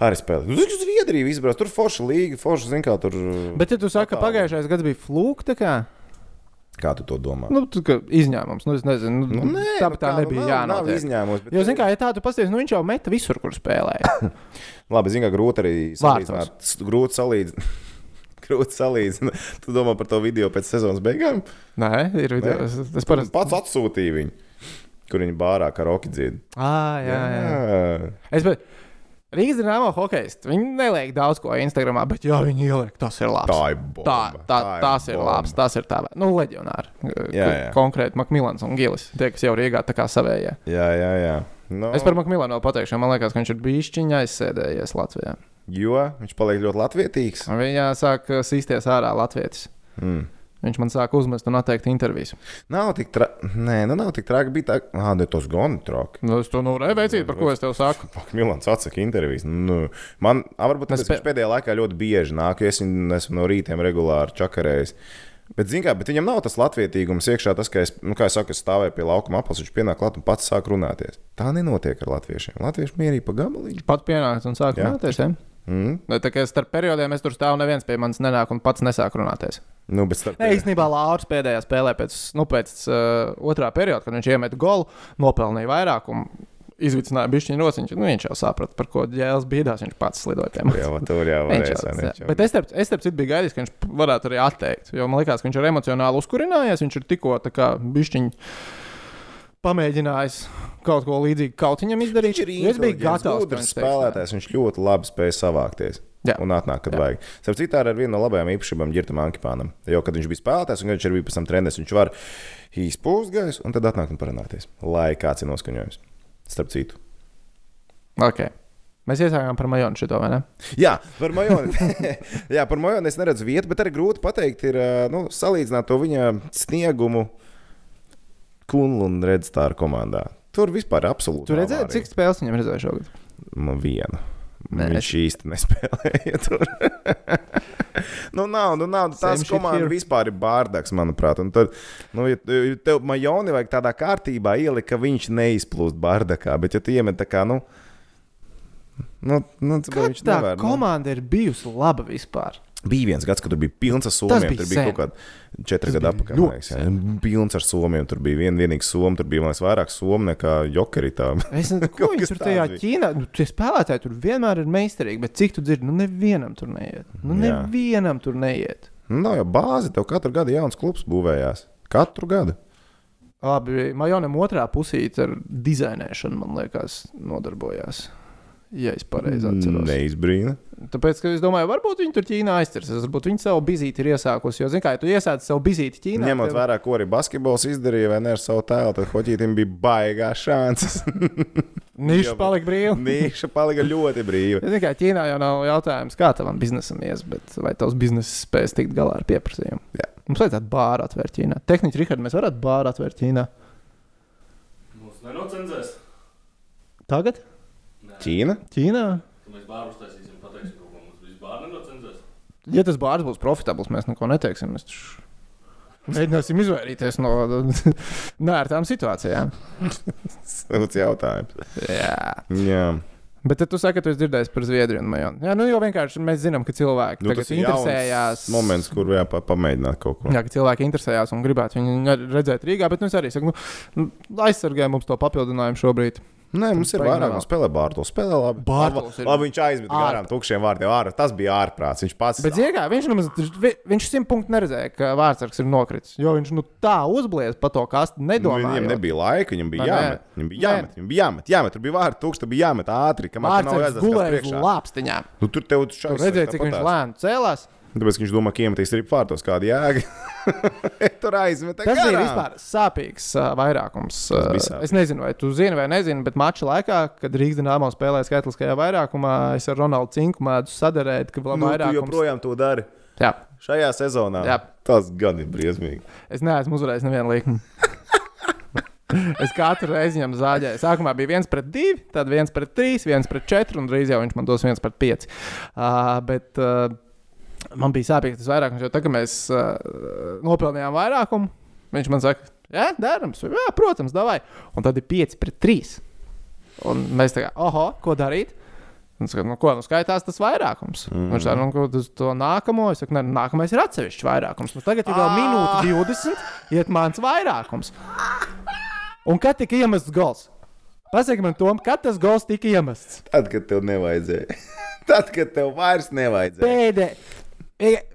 Speaker 2: Arī spēlē. Nu, Uz Zviedriju izbrauc. Tur forša līga, forša zina, kā tur. Bet...
Speaker 1: Bet, ja tu saki, ka pagājušais gads bija flūks, tad
Speaker 2: Kā tu to domā?
Speaker 1: nu, tu, ka izņēmums. Nu, es nezinu, nu,
Speaker 2: Nu,
Speaker 1: nu,
Speaker 2: nē,
Speaker 1: tā,
Speaker 2: nu
Speaker 1: nu, tā
Speaker 2: kā, nu,
Speaker 1: nebija
Speaker 2: nav- nav
Speaker 1: jānotiek.
Speaker 2: izņēmums, bet
Speaker 1: Jo,
Speaker 2: tev-
Speaker 1: zini, kā ja tā, tu pasties, nu viņš jau meta visur, kur spēlēja.
Speaker 2: Labi, zinu, ka grūti arī
Speaker 1: Vārtos.
Speaker 2: salīdzināt. S- Grūti salīdzināt. Grūti salīdzināt. Tu domā par to video pēc sezonas beigām?
Speaker 1: Nē, ir video. Es, es
Speaker 2: Parasti.
Speaker 1: parasti.
Speaker 2: Pats atsūtīja viņu, kur viņi bārā karaoke dzied.
Speaker 1: Ah, jā, jā. jā. Es, bet... Rīgas dīnāmo hokeistu. Viņi neliek daudz ko Instagram, bet, ja viņi ieliek, tas ir labi.
Speaker 2: Tā ir bomba.
Speaker 1: Tā, tā,
Speaker 2: Tā ir
Speaker 1: tās ir
Speaker 2: bomba.
Speaker 1: labas, tās ir tādas. Nu, leģionāri.
Speaker 2: Jā, jā.
Speaker 1: Konkrēti, Makmilans un Gilis. Tie, kas jau Rīgā tā kā savējie.
Speaker 2: Jā, jā, jā. Nu, No,
Speaker 1: Es par Makmilanu vēl pateikšu, jo man liekas, ka viņš ir bijis čiņā aizsēdējies Latvijā.
Speaker 2: Jo viņš paliek ļoti latvietīgs.
Speaker 1: Viņa sāk uh, sīsties ārā Latvijas.
Speaker 2: Mm.
Speaker 1: Viņš man sāk uzmest un atteikt intervijas.
Speaker 2: Nav tik traki. Nē, nu nav tik traki. Bija tā, ah, ne tos goni traki.
Speaker 1: Nu, es to nu redzēju, par ko es tev saku.
Speaker 2: Pak, Milans atsaka intervijas. Nu, man, a, varbūt
Speaker 1: Es
Speaker 2: tas
Speaker 1: pe-
Speaker 2: pē... pēdējā laikā ļoti bieži nāk, jo es viņu esmu no rītiem regulāri čakarējis. Bet, zin kā, bet viņam nav tas latvietīgums iekšā, tas, ka es, nu, kā es saku, es stāvēju pie laukuma apels, viņš pienāk klāt un pats sāk runāties. Tā nenotiek ar latviešiem. Latvieši mierīgi pa gabaliņu.
Speaker 1: Pat pienācis un sāk
Speaker 2: Jā.
Speaker 1: runāties. Ja?
Speaker 2: Mm.
Speaker 1: Nu, Tā kā starp periodiem es tur stāvu, neviens pie manis nenāk un pats nesāk runāties.
Speaker 2: Nu, bet starp...
Speaker 1: Nē, īstenībā Lārs pēdējā spēlē pēc, nu, pēc uh, otrā perioda, kad viņš iemeta golu, nopelnīja vairāk un izvicināja bišķiņu rociņu. Nu, viņš jau saprata, par ko ģēles bīdās. Viņš pats slidoja pie
Speaker 2: Tur
Speaker 1: mums.
Speaker 2: jau tur jau
Speaker 1: Viņš
Speaker 2: varēs. vai
Speaker 1: jau-
Speaker 2: ne?
Speaker 1: jā. Bet es starp, es starp citu biju gaidījis, ka viņš p- varētu arī atteikt. Jo man liekas, ka viņš ir emocionāli uzkurinājies. Viņš ir tikko tā kā bišķiņu pamēģinājis kaut ko līdzīgu kautiņam izdarīt.
Speaker 2: Nu,
Speaker 1: Jo Es biju
Speaker 2: inteligents,
Speaker 1: gatavs. ka
Speaker 2: gudrs
Speaker 1: viņš teiks nē.
Speaker 2: spēlētājs. Viņš ļoti labi spēja savākties.
Speaker 1: Jā.
Speaker 2: Un atnāk, kad
Speaker 1: Jā.
Speaker 2: Jā. vajag. Starp citu, ar vienu no labajām īpašībām Girta Mankipānam. Jo, kad viņš bija spēlētājs un kad viņš arī bija pēc tam treneris, viņš var izpūst gaisu un tad atnākt un parunāties. Lai kāds ir noskaņojums. Starp citu.
Speaker 1: Okay. Mēs iesākām par Majonu šito, vai ne?
Speaker 2: Jā, par Majonu. Jā, par Majonu es neredzu vietu, bet arī grūti pateikt, ir ā, nu, salīdzināt to viņa sniegumu Kunlu un Redstāru komandā. Tur vispār absolūti.
Speaker 1: Tu
Speaker 2: nav
Speaker 1: redzēji,
Speaker 2: vārīga.
Speaker 1: cik spēles viņam redzēja šogad?
Speaker 2: Man viena.
Speaker 1: Nē,
Speaker 2: Nē, Viņš es... īsti nespēlēja tur. nu, nav, nu, nav.
Speaker 1: Same
Speaker 2: Tās
Speaker 1: shit
Speaker 2: komandas
Speaker 1: here.
Speaker 2: vispār ir bārdaks, manuprāt. Un tad, nu, ja ja tev majoni vajag tādā kārtībā ielikt, ka viņš neizplūst bārdakā, bet ja tu iemet tā kā, nu, nu, nu tad
Speaker 1: Kā
Speaker 2: viņš
Speaker 1: tā
Speaker 2: nevar. Nu.
Speaker 1: komanda ir bijusi laba vispār?
Speaker 2: Bija viens gads, kad tur bija pilns ar somiem.
Speaker 1: bija
Speaker 2: Tur bija
Speaker 1: sen.
Speaker 2: kaut kāda četri
Speaker 1: Tas
Speaker 2: gadi
Speaker 1: bija
Speaker 2: apakaļ.
Speaker 1: ļoti
Speaker 2: man liekas, jā. Pilns ar somiem. Tur bija viena vienīga soma. Tur bija man liekas, vairāk somu nekā jokeritā.
Speaker 1: Es nezinu, ko
Speaker 2: Kaut
Speaker 1: viņi
Speaker 2: kas
Speaker 1: tur tajā
Speaker 2: tāds bija.
Speaker 1: Ķīnā. Nu, tie spēlētāji tur vienmēr ir meistarīgi, bet cik tu dzirdi, nu nevienam tur neiet. Nu
Speaker 2: Jā.
Speaker 1: nevienam tur neiet.
Speaker 2: Nu, nav jau bāzi, tev katru gadu jauns klubs būvējās. Katru gadu.
Speaker 1: Labi, Majonam otrā pusīte ar dizainēšanu, man liekas, nodarbojās. Ja es pareizi
Speaker 2: Mm,
Speaker 1: atceros.
Speaker 2: Neizbrīna.
Speaker 1: Tāpēc, ka es domāju, varbūt viņi tur Ķīnā aiztursies. Varbūt viņi savu bizīti ir iesākusi. Jo, zināmā mērā, ja tu iesāc savu bizīti Ķīnā.
Speaker 2: Ņemot
Speaker 1: tev-
Speaker 2: vērā, ko arī basketbols izdarīja, vai ne ar savu tēlu, tad hoķītam bija baigā šāds.
Speaker 1: Nišs palika brīvi.
Speaker 2: Nīša palika ļoti brīva.
Speaker 1: Ja Tikai Ķīnā jau nav jautājums, kā tavam biznesam ies, bet vai tavs biznesa spēs tikt galā ar pieprasījumu.
Speaker 2: Jā.
Speaker 1: Mums vajadzētu bāru atvērt Ķīnā. Tehniski, Rihard, mēs varētu bāru atvērt Ķīnā.
Speaker 3: Mums nenocenzēs.
Speaker 1: Tagad?
Speaker 3: Nē.
Speaker 2: Ķīna?
Speaker 1: Ķīnā?
Speaker 3: Tad Mēs bāru uztaisīsim, pateiksim, ko mums vispār nenocenzēs.
Speaker 1: Ja tas bārs būs profitabls, mēs neko neteiksim. Mēs taču mēģināsim izvairīties no nērtām situācijām.
Speaker 2: Sūds jautājums.
Speaker 1: Jā.
Speaker 2: Jā.
Speaker 1: Bet tad tu saki, ka tu esi dzirdējis par Zviedriju un Majonu. Jā, nu jau vienkārši mēs zinām, ka cilvēki
Speaker 2: Nu,
Speaker 1: nu,
Speaker 2: tas
Speaker 1: tagad
Speaker 2: ir jauns
Speaker 1: interesējās.
Speaker 2: Moments, kur jāpa, pamēģināt kaut ko.
Speaker 1: Jā, ka cilvēki interesējās un gribētu viņu redzēt Rīgā, bet nu, es arī saku, nu, nu, aizsargāj mums to papildinājumu šobrīd.
Speaker 2: Nē, mums ir
Speaker 1: Paņem
Speaker 2: vairāk.
Speaker 1: vēl.
Speaker 2: Mums spēlē Bārtos. Spēlē labi.
Speaker 1: Bartels
Speaker 2: labi,
Speaker 1: ir-
Speaker 2: labi viņš aizmet
Speaker 1: Ārprāts.
Speaker 2: garām tukšiem vārdiem. Ārā. Tas bija ārprāts. Viņš pats.
Speaker 1: Bet ziegā, viņš nemaz vi- viņš simt punktu neredzēja, ka Vārtsargs ir nokritis. Jo viņš nu, tā uzblies pa to kastu,
Speaker 2: Nu,
Speaker 1: nedomājot.
Speaker 2: viņam nebija laika, viņam bija
Speaker 1: Vai ne?
Speaker 2: jāmet. Viņam bija jāmet, viņam bija jāmet, jāmet. Tur bija vārds, tūkstoši bija jāmet ātri, kamēr tur nav
Speaker 1: Vārtsargs
Speaker 2: jāsaka
Speaker 1: gulēja uz
Speaker 2: priekšā.
Speaker 1: lāpstiņām.
Speaker 2: Nu, tur tev
Speaker 1: Tur
Speaker 2: šādi
Speaker 1: redzēja, cik viņš lēni cēlās.
Speaker 2: Tāpēc ka viņš domā, ka iemetīs arī pārtos kādu jēgu. tur aizmet.
Speaker 1: Tas
Speaker 2: garām.
Speaker 1: bija vispār sāpīgs uh, vairākums.
Speaker 2: Tas bija
Speaker 1: Uh,
Speaker 2: sāpīgi.
Speaker 1: es nezinu, vai tu zini vai nezini, bet mača laikā, kad Rīgas dīnāmā spēlēja skaitliskajā vairākumā, es ar Ronaldu Cinku mēdzu sadarēt, ka vēl
Speaker 2: Nu, tu
Speaker 1: vairāk.
Speaker 2: joprojām to dari.
Speaker 1: Jā,
Speaker 2: Šajā sezonā
Speaker 1: Jā.
Speaker 2: tas gan ir briesmīgi.
Speaker 1: Es neesmu uzvarējis nevienu līkumu. Es katru reizi viņam zāģēju. Sākumā bija viens pret divi, tad viens pret trīs, viens pret četri, un drīz jau viņš man dos viens pret pieci. Uh, bet uh, Ah, Man bija sāpīgi tas vairākums, jo tagad mēs uh, nopelnījām vairākumu. Viņš man saka, jā, darams, jā, protams, davai. Un tad ir 5 pret 3. Un mēs tā kā, oho, ko darīt? Un Es saku, nu, ko nu skaitās tas vairākums? Mm. Viņš tā, nu, ko tas to nākamo? Es saku, nē, nākamais ir atsevišķs vairākums. Nu, tagad ir vēl minūte 20, iet mans vairākums. Un kad tika iemests gals? Pasakiet man, Tom, kad tas gals tika iemests?
Speaker 2: Tad, kad tev nevajadzēja. Tad, kad tev vairs nevajadzēja.
Speaker 1: Pēdējais.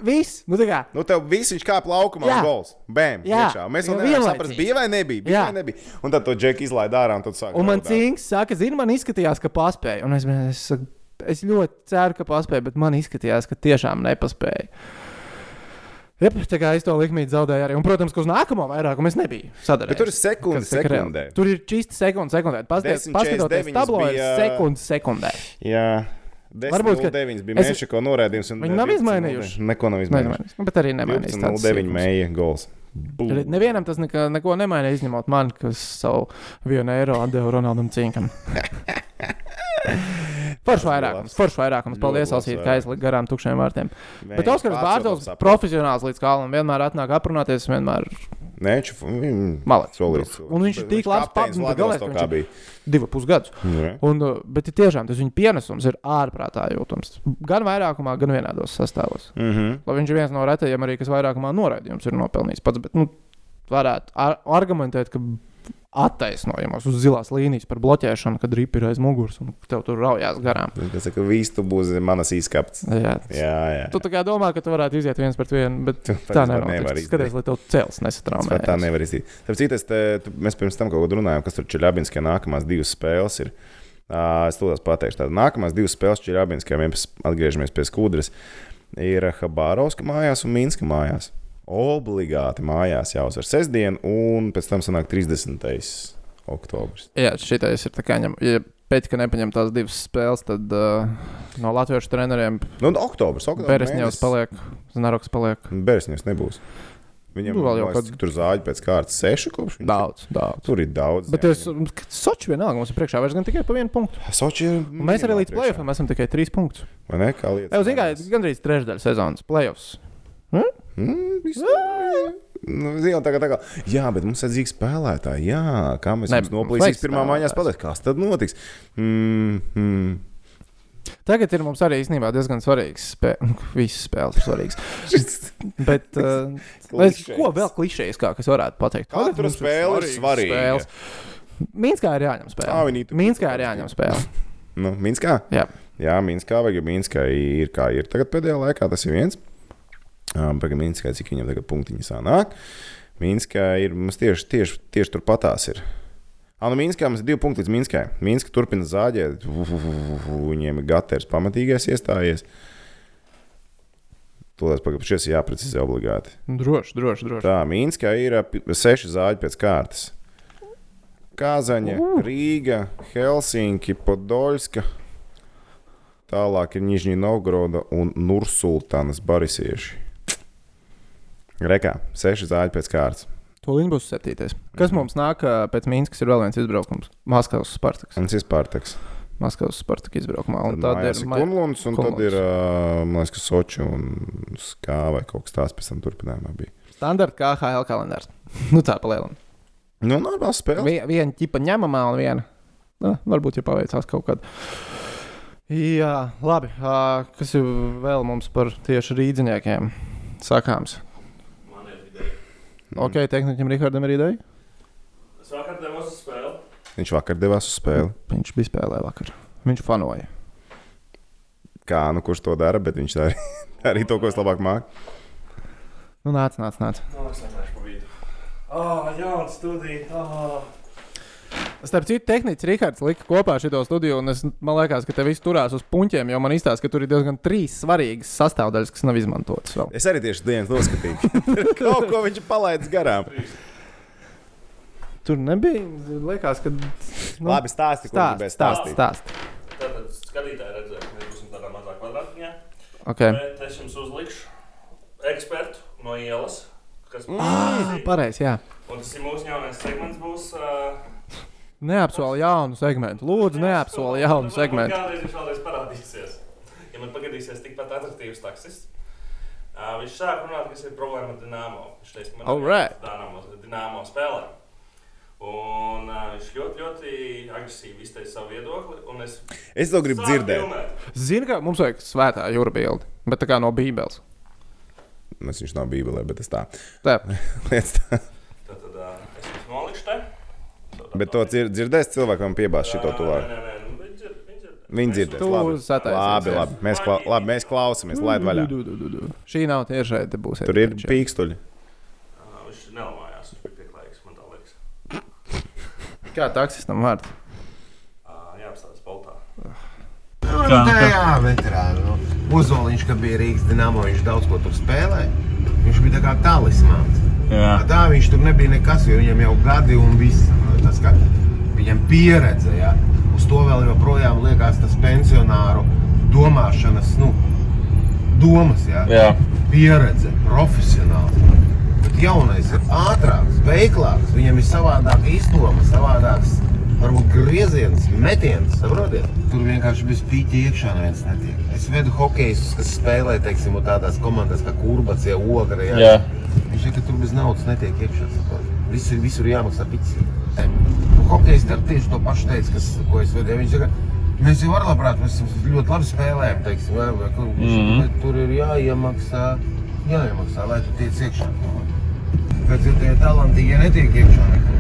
Speaker 1: Viss, nu tā kā.
Speaker 2: Nu, tev viss viņš kāpa laukumā,
Speaker 1: Jā.
Speaker 2: jau gols. Bēm,
Speaker 1: Jā.
Speaker 2: iekšā. Mēs
Speaker 1: Jo
Speaker 2: vēl nevaram
Speaker 1: vienlaicīgi.
Speaker 2: saprast, bija vai nebija. Bija
Speaker 1: Jā.
Speaker 2: vai nebija. Un tad to džeku izlaiž ārā un tad sāk.
Speaker 1: Un man
Speaker 2: draudāt.
Speaker 1: cīņš saka, zini, man izskatījās, ka paspēja. Un es, es, saku, es ļoti ceru, ka paspēja, bet man izskatījās, ka tiešām nepaspēja. Jā, tā kā es to likmīgi zaudēju arī. Un, protams, ka uz nākamo vairākumu es nebiju sadarbojies.
Speaker 2: Bet tur ir sekunde sekundē.
Speaker 1: Tur ir čīsti sekundes sekundē. Paskatieties,
Speaker 2: 10.49
Speaker 1: paskatieties, tablo ir
Speaker 2: bija-
Speaker 1: sekundes sekundē.
Speaker 2: Jā. Varbūt
Speaker 1: Varbūt, ka-
Speaker 2: 9 bija
Speaker 1: es-
Speaker 2: mēneša, ko norādījums.
Speaker 1: Viņi nav izmainījuši.
Speaker 2: Neko nav izmainījuši.
Speaker 1: Nezinu, Nu, bet arī nemainījās. tāds
Speaker 2: 09
Speaker 1: sīkums.
Speaker 2: mēja gols.
Speaker 1: Re- Nevienam tas nekā, neko nemainīja, izņemot mani, kas savu vienu eiro devu Ronaldam Cinkam. Foršs vairākums, foršs vairākums.
Speaker 2: Ļoti
Speaker 1: Paldies,
Speaker 2: labs
Speaker 1: Alsīt, ka
Speaker 2: vairākums. Mm.
Speaker 1: aizlika garām tukšiem vārtiem. Bet Osakas Bārtaļs, profesionāls līdz kālam, vienmēr atnāk aprunāties, vienmēr
Speaker 2: Nē, čuf, mm,
Speaker 1: Malacis.
Speaker 2: solīts.
Speaker 1: Nu, Un viņš ir tik labs
Speaker 2: kapteinis
Speaker 1: pats,
Speaker 2: Latvijas
Speaker 1: galēs,
Speaker 2: to
Speaker 1: ka
Speaker 2: kā
Speaker 1: viņš-
Speaker 2: bija.
Speaker 1: divu pusgadus.
Speaker 2: Jā.
Speaker 1: Un, uh, bet ir tiešām tas viņa pienesums ir ārprātā jūtams. Gan vairākumā, gan vienādos sastāvos.
Speaker 2: Mhm.
Speaker 1: Lai viņš ir viens no retajiem, arī kas vairākumā noraidījums ir nopelnījis pats. Bet, nu, varētu ar argumentēt, ka attaisnojumos uz zilās līnijas par bloķēšanu, kad ripi ir aiz muguras un tev tur raujās garām.
Speaker 2: Tas saka, viss tu būsi manas īskapts.
Speaker 1: Jā, tas-
Speaker 2: Jā, jā.
Speaker 1: Tu tā kā domā, ka tu varētu iziet viens pret vienu, bet
Speaker 2: Tu
Speaker 1: tā
Speaker 2: vispār
Speaker 1: nevar
Speaker 2: nevari
Speaker 1: būt.
Speaker 2: izdarīt.
Speaker 1: Skaties, lai tev cēlus
Speaker 2: Tas var tā
Speaker 1: nesatraumē.
Speaker 2: nevar izdarīt. Starp citu, es te, tu, mēs pirms tam kaut ko runājām, kas tur Čeļabinskajā nākamās divas spēles ir. Ā, Es to pateikšu. Tātad nākamās divas spēles Čeļabinskajā, ja mēs atgriežamies pie skudras, ir Habārovska mājās un Minska mājās. Obligāti mājās jāuzvar sestdien, un pēc tam sanāk 30. oktobris.
Speaker 1: Jā, šitais ir tā kā ņem. Ja pēc tam, kad nepaņem tās divas spēles, tad uh, no latviešu treneriem
Speaker 2: Nu, un oktobris, oktobris.
Speaker 1: Beresņevs paliek, Znaroks paliek.
Speaker 2: Beresņevs nebūs. Viņam
Speaker 1: Nu, vēl
Speaker 2: vēl
Speaker 1: jau
Speaker 2: jau kāds
Speaker 1: kāds-
Speaker 2: tur zāģi pēc kārtas sešu kopš. viņš-
Speaker 1: Daudz, daudz.
Speaker 2: Tur ir daudz.
Speaker 1: Bet es soču vienalga mums ir priekšā vairs gan tikai pa vienu punktu.
Speaker 2: Soči ir.
Speaker 1: Un Mēs arī
Speaker 2: minimāli
Speaker 1: līdz
Speaker 2: priekšā.
Speaker 1: playoffam esam tikai trīs punktus.
Speaker 2: Vai ne? Kā lietas.
Speaker 1: Jau zinu, kā
Speaker 2: mainās.
Speaker 1: gandrīz trešdaļa sezonas playoffs.
Speaker 2: Mm, viss Nu, zinām, tā kā, tā kā, jā, bet mums ir zīgi spēlētāji. Jā, kā mēs
Speaker 1: Ne,
Speaker 2: jums
Speaker 1: mums
Speaker 2: noplīsīsim,
Speaker 1: vajag
Speaker 2: pirmā mājās
Speaker 1: spēlētājus.
Speaker 2: pateiks, kas tad notiks. Mm, mm.
Speaker 1: Tagad ir mums arī īstenībā diezgan svarīgs spēle. Visas spēles ir svarīgas. Bet, uh, es, ko vēl klišejas, kā kas varētu pateikt?
Speaker 2: Katra
Speaker 1: Tagad mums ir
Speaker 2: spēle ir
Speaker 1: svarīgas
Speaker 2: svarīga.
Speaker 1: spēles. Minskā ir jāņem
Speaker 2: Tā
Speaker 1: spēle.
Speaker 2: viņi tur-
Speaker 1: Minskā ir jāņem spēle.
Speaker 2: Nu, Minskā?
Speaker 1: Jā.
Speaker 2: Jā, Minskā vai Minskā ir kā ir. Tagad pēdējā laikā tas ir viens. Um, Pagaidām, Minskā, cik viņam tagad punktiņi sanāk. Minskā ir mums tieši, tieši, tieši turpatās. Ir. Ah, nu Minskā mums ir divi punkti līdz Minskai. Minska turpina zāģēt. Viņiem ir gatavs pamatīgais iestājies. Tolēs pagaidām šis ir jāprecizē obligāti.
Speaker 1: Droši, droši, droši.
Speaker 2: Tā, Mīnskā ir ap seši zāģi pēc kārtas. Kazaņa, uh. Rīga, Helsinki, Podolska. Tālāk ir Nižņina Novgoroda un Nursultānas barisieši. Rekā, seši zāģi pēc kārtas.
Speaker 1: To viņi būs septītais. Kas mums nāk ā, pēc Mīnskas ir vēl viens izbraukums? Maskavas Spartaks.
Speaker 2: Un tas ir pārtaks.
Speaker 1: Maskavas Spartaka izbraukumā. Un
Speaker 2: Tad
Speaker 1: tad
Speaker 2: mājās
Speaker 1: ir
Speaker 2: ir
Speaker 1: mai-
Speaker 2: Kunlunds, un tad
Speaker 1: Kunlunds.
Speaker 2: ir, ā, man liekas, ka Soči un Skā vai kaut kas tāds pēc tam turpinājumā bija.
Speaker 1: standarta KHL kalendārs. nu tā palielinām.
Speaker 2: Nu, normāls spēle.
Speaker 1: Vi, viena ķipa ņemamā un viena. Na, Nu, varbūt jau paveicās kaut kad. Jā, labi. ā, Kas ir vēl mums par tieši rīdziniekiem sakāms?
Speaker 3: Man ir ideja.
Speaker 1: Ok, tehnikam Rihardam ir ideja.
Speaker 3: Es vakar devos uz spēli.
Speaker 2: Viņš vakar devās uz spēli.
Speaker 1: Viņš bija spēlējis vakar. Viņš fanoja.
Speaker 2: Kā, nu, kurš to dara, bet viņš arī, arī to, ko es labāk māku.
Speaker 1: Nu, nāc, nāc, nāc.
Speaker 3: No, es vienkārši pa vidu. Ah, jauna studija. Ah.
Speaker 1: Starp citu, tehnicis Rahards lika kopā šo studiju, un es, man liekas, ka te viss turās uz puņķiem, jo man izstāsta, ka tur ir diezgan trīs svarīgas sastāvdaļas, kas nav izmantotas vēl.
Speaker 2: Es arī tieši dienas noskatīju. Kaut ko viņš palaidis garām.
Speaker 1: Tur nebija. Liekas, ka.
Speaker 2: Nu, Labi, stāsti, ko
Speaker 1: stāst,
Speaker 2: gribēji
Speaker 1: stāst,
Speaker 2: stāstīt.
Speaker 1: stāst.
Speaker 3: Tātad skatītāji redzēs, ka mēs būsim tādā mazā kvadrātiņā.
Speaker 1: Okay.
Speaker 3: Bet es jums uzlikšu ekspertu no ielas, kas
Speaker 1: Ah, pareizi, jā.
Speaker 3: Un tas ir mūsu jaunais segments. Būs, uh,
Speaker 1: Neapsoli jaunu segmentu. Lūdzu, neapsoli jaunu segmentu.
Speaker 3: Kādreiz viņš vēlreiz parādīsies. Ja man pagadīsies tikpat attraktīvs taksists, Uh, viņš sāk runāt, kas ir problēma ar Dienāmo. Viņš teica, ka
Speaker 1: All right.
Speaker 3: Dienāmo, Dienāmo spēlē. Un uh, viņš ļoti, ļoti agresīvi izteica savu viedokli. un Es
Speaker 2: Es to gribu
Speaker 3: sāku
Speaker 2: dzirdēt.
Speaker 3: filmēt.
Speaker 1: Zini, ka mums vajag svētā jūra bildi, bet tā kā no Bībeles.
Speaker 2: Es viņš nav bībelē, bet es tā.
Speaker 1: Tā.
Speaker 2: Lietas tā.
Speaker 3: Tad, tad uh, es viņus nolikšu te.
Speaker 2: Bet to dzir dzirdēs cilvēkam piebāzt šito tuvāk.
Speaker 3: Nē, nē, nē, nu, viņi dzird. viņi dzird.
Speaker 2: Viņi dzirdēs.
Speaker 1: Tu
Speaker 2: Labi,
Speaker 1: sataisies,
Speaker 2: labi,
Speaker 1: jā.
Speaker 2: labi. Mēs, kla labi, mēs klausāmies. Lai vaļā.
Speaker 1: Du, du, du, du, du. Šī nav tiešai, te būs.
Speaker 2: Tur ir pīkstuļi.
Speaker 3: Uh, Viņš nelamājās, viņš bija pieklājīgs, man tā liekas.
Speaker 1: Kā taksistam vārds?
Speaker 3: Uh, jā, apstāties baltā.
Speaker 4: Nu, tā jā, veterāni. Nu. Uzoliņš, kad bija Rīgas dīnāmo, viņš daudz ko tur spēlēja. Viņš bija tā kā talismāns.
Speaker 5: Jā.
Speaker 4: Tā viņš tur nebija nekas, jo viņam jau gadi un viss. Nu, Tas, ka viņam pieredze, ja uz to vēl joprojām liekas tas pensionāru domāšanas, nu, domas, jā.
Speaker 5: Jā.
Speaker 4: Pieredze, profesionāls. Bet jaunais ir ātrāks, veiklāks, viņam ir savādāk izloma, savādāks. Varbūt grieziens, metiens, saprotiet? Tur vienkārši bez pīķa iekšā neviens netiek. Es vedu hokeju, kas spēlē, teiksim, un tādās komandās kā kurbats, ja ogra. Jā.
Speaker 5: Jā.
Speaker 4: Viņš teica, ka tur bez naudas netiek iekšā. saprotiet? Visur, visur jāmaksā pīķi. Nu, Hokejs dar tieši to pašu teica, kas, ko es vedu. Ja Viņš saka, mēs jau varam labprāt, mēs ļoti labi spēlējam, teiksim, vai, vai, kur, mm -hmm. bet tur ir jāiemaksā, jāiemaksā, lai tu tiec iekšā. Kad ir tie talanti, ja netiek iekšā nekur.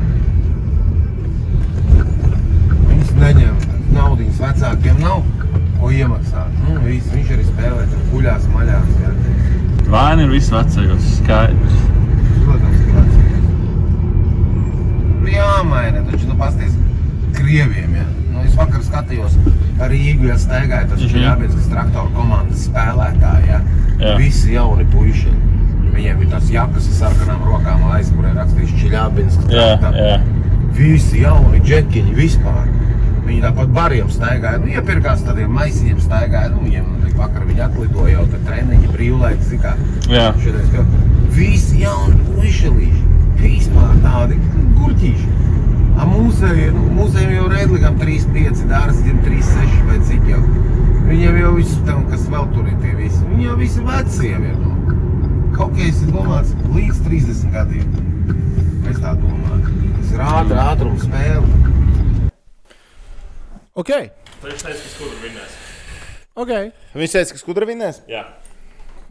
Speaker 4: Viņus neņem. Naudas vecākiem nav ko iemaksāt. Nu, viss, viņš arī spēlē tur guļās, maļās. Jā.
Speaker 5: Vaina ir viss vecajos. Skaidrs.
Speaker 4: Protams, ka vecāki. Nu, jāmaina, taču nu, pasties krieviem. Jā. Nu, es vakar skatījos par Rīgu, ja staigāju, tas ir
Speaker 5: Mhm.
Speaker 4: jābeidzas traktoru komandas spēlētāji. Jā.
Speaker 5: Jā.
Speaker 4: Visi jauni puiši. Viņiem ir tās jakas ar sarkanām rokām, aizmugurē rakstīts Čeļābins.
Speaker 5: Jā, jā.
Speaker 4: Visi jauni džekiņi vispār. Viņi tāpat bariem staigāja, nu, iepirkās tādiem maisiņiem staigāja. Nu, viņiem arī vakar viņi atlidoja jau tā treniņa brīvlaiks, zikā.
Speaker 5: Jā.
Speaker 4: Šodien skatās. Visi jauni puišelīši, vispār tādi gurķīši. A mūsējiem, nu, mūsējiem jau redligam 3,5, dārziem 3,6 vai cik jau. Viņiem jau viss tam, kas vēl tur ir tie visi. Viņi jau visi veciem ir. Nu. Kaut kā es domāju, līdz 30 gadiem. Es tā domāju. Tas ir ātrs, ātrums spēle.
Speaker 1: Ok,
Speaker 3: Tad viņš teica, kas kur vinnēs.
Speaker 1: ok.
Speaker 2: Viņš teica, ka skudra vinnēs.
Speaker 3: Jā.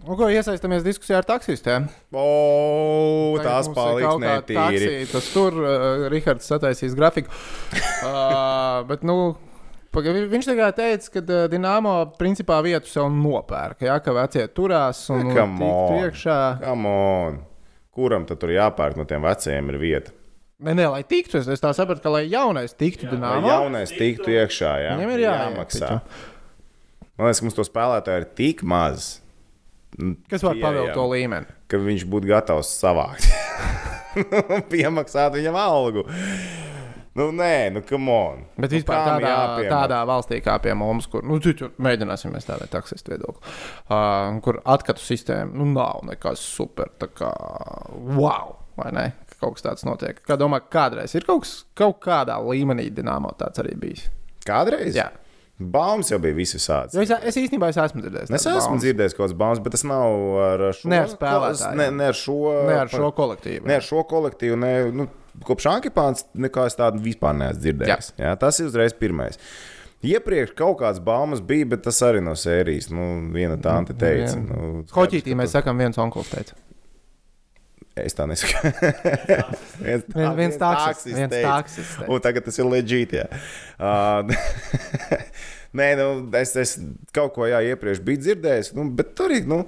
Speaker 1: Un ko iesaistamies diskusijā ar taksistiem?
Speaker 2: O,
Speaker 1: Nu, Tagad
Speaker 2: Nu, tās
Speaker 1: mums ir
Speaker 2: paliks
Speaker 1: kaut kā
Speaker 2: netīri.
Speaker 1: taksī, Tas tur uh, Rahards sataisīs grafiku. uh, bet, nu, paga- vi- viņš tikai teica, ka uh, Dienāmo principā vietu sev nopērk. Jā, ka vecie turās un
Speaker 2: Come on.
Speaker 1: tiktu iekšā.
Speaker 2: Come on. Kuram tad tur jāpērk no tiem vecajiem ir vieta?
Speaker 1: Nē, nē, lai tiktu, es, es tā sapratu, ka lai jaunais tiktu
Speaker 2: Lai
Speaker 1: Dienāmo.
Speaker 2: jaunais tiktu iekšā, jā.
Speaker 1: Viņam ir
Speaker 2: jāmaksā. Man liekas, ka mums to spēlētāju ir tik maz,
Speaker 1: Kas var
Speaker 2: Jā, jā.
Speaker 1: pavilkt to līmeni?
Speaker 2: ka viņš būtu gatavs savākt. Un Piemaksāt viņam algu. Nu, nē, nu, come on.
Speaker 1: Bet
Speaker 2: nu,
Speaker 1: vispār
Speaker 2: kam
Speaker 1: tādā,
Speaker 2: jāpiemaksā?
Speaker 1: tādā valstī, kā pie mums, kur nu, citu, mēģināsim mēs tādā taksistu viedokli, uh, kur atkatu sistēma nu, nav nekas super, tā kā wow, vai ne? ka Kaut kas tāds notiek. Kā domā, kādreiz ir kaut, kas, kaut kādā līmenī dīnāmā tāds arī bijis?
Speaker 2: Kādreiz?
Speaker 1: Jā.
Speaker 2: Baumas jau bija visas sāds.
Speaker 1: Jo es, es īstenībā es esmu dzirdējis.
Speaker 2: Es
Speaker 1: tādu
Speaker 2: esmu
Speaker 1: baumas.
Speaker 2: dzirdējis kaut kādas baumas, bet tas nav ar šo
Speaker 1: Ne ar spēlētājiem.
Speaker 2: Ne, ne ar šo,
Speaker 1: Ne ar šo kolektīvu.
Speaker 2: ne ar šo kolektīvu. Ne, nu, kopš Ankipāns neko es tādu vispār neesmu dzirdējis. Jā. Jā, tas ir uzreiz pirmais. Iepriekš kaut kādas baumas bija, bet tas arī no sērijas. Nu, viena tā ante
Speaker 1: jā.
Speaker 2: teica. Nu,
Speaker 1: Hoķītī mēs sakām, viens onkurs teica.
Speaker 2: Es tā nesaku. viens
Speaker 1: Vien- viens taksis,
Speaker 2: taksis
Speaker 1: viens
Speaker 2: teica.
Speaker 1: taksis teica.
Speaker 2: Un tagad tas ir leģīti. Uh, nē, nu, es, es kaut ko jā, iepriekš biju dzirdējis, nu, bet tur ir. Nu,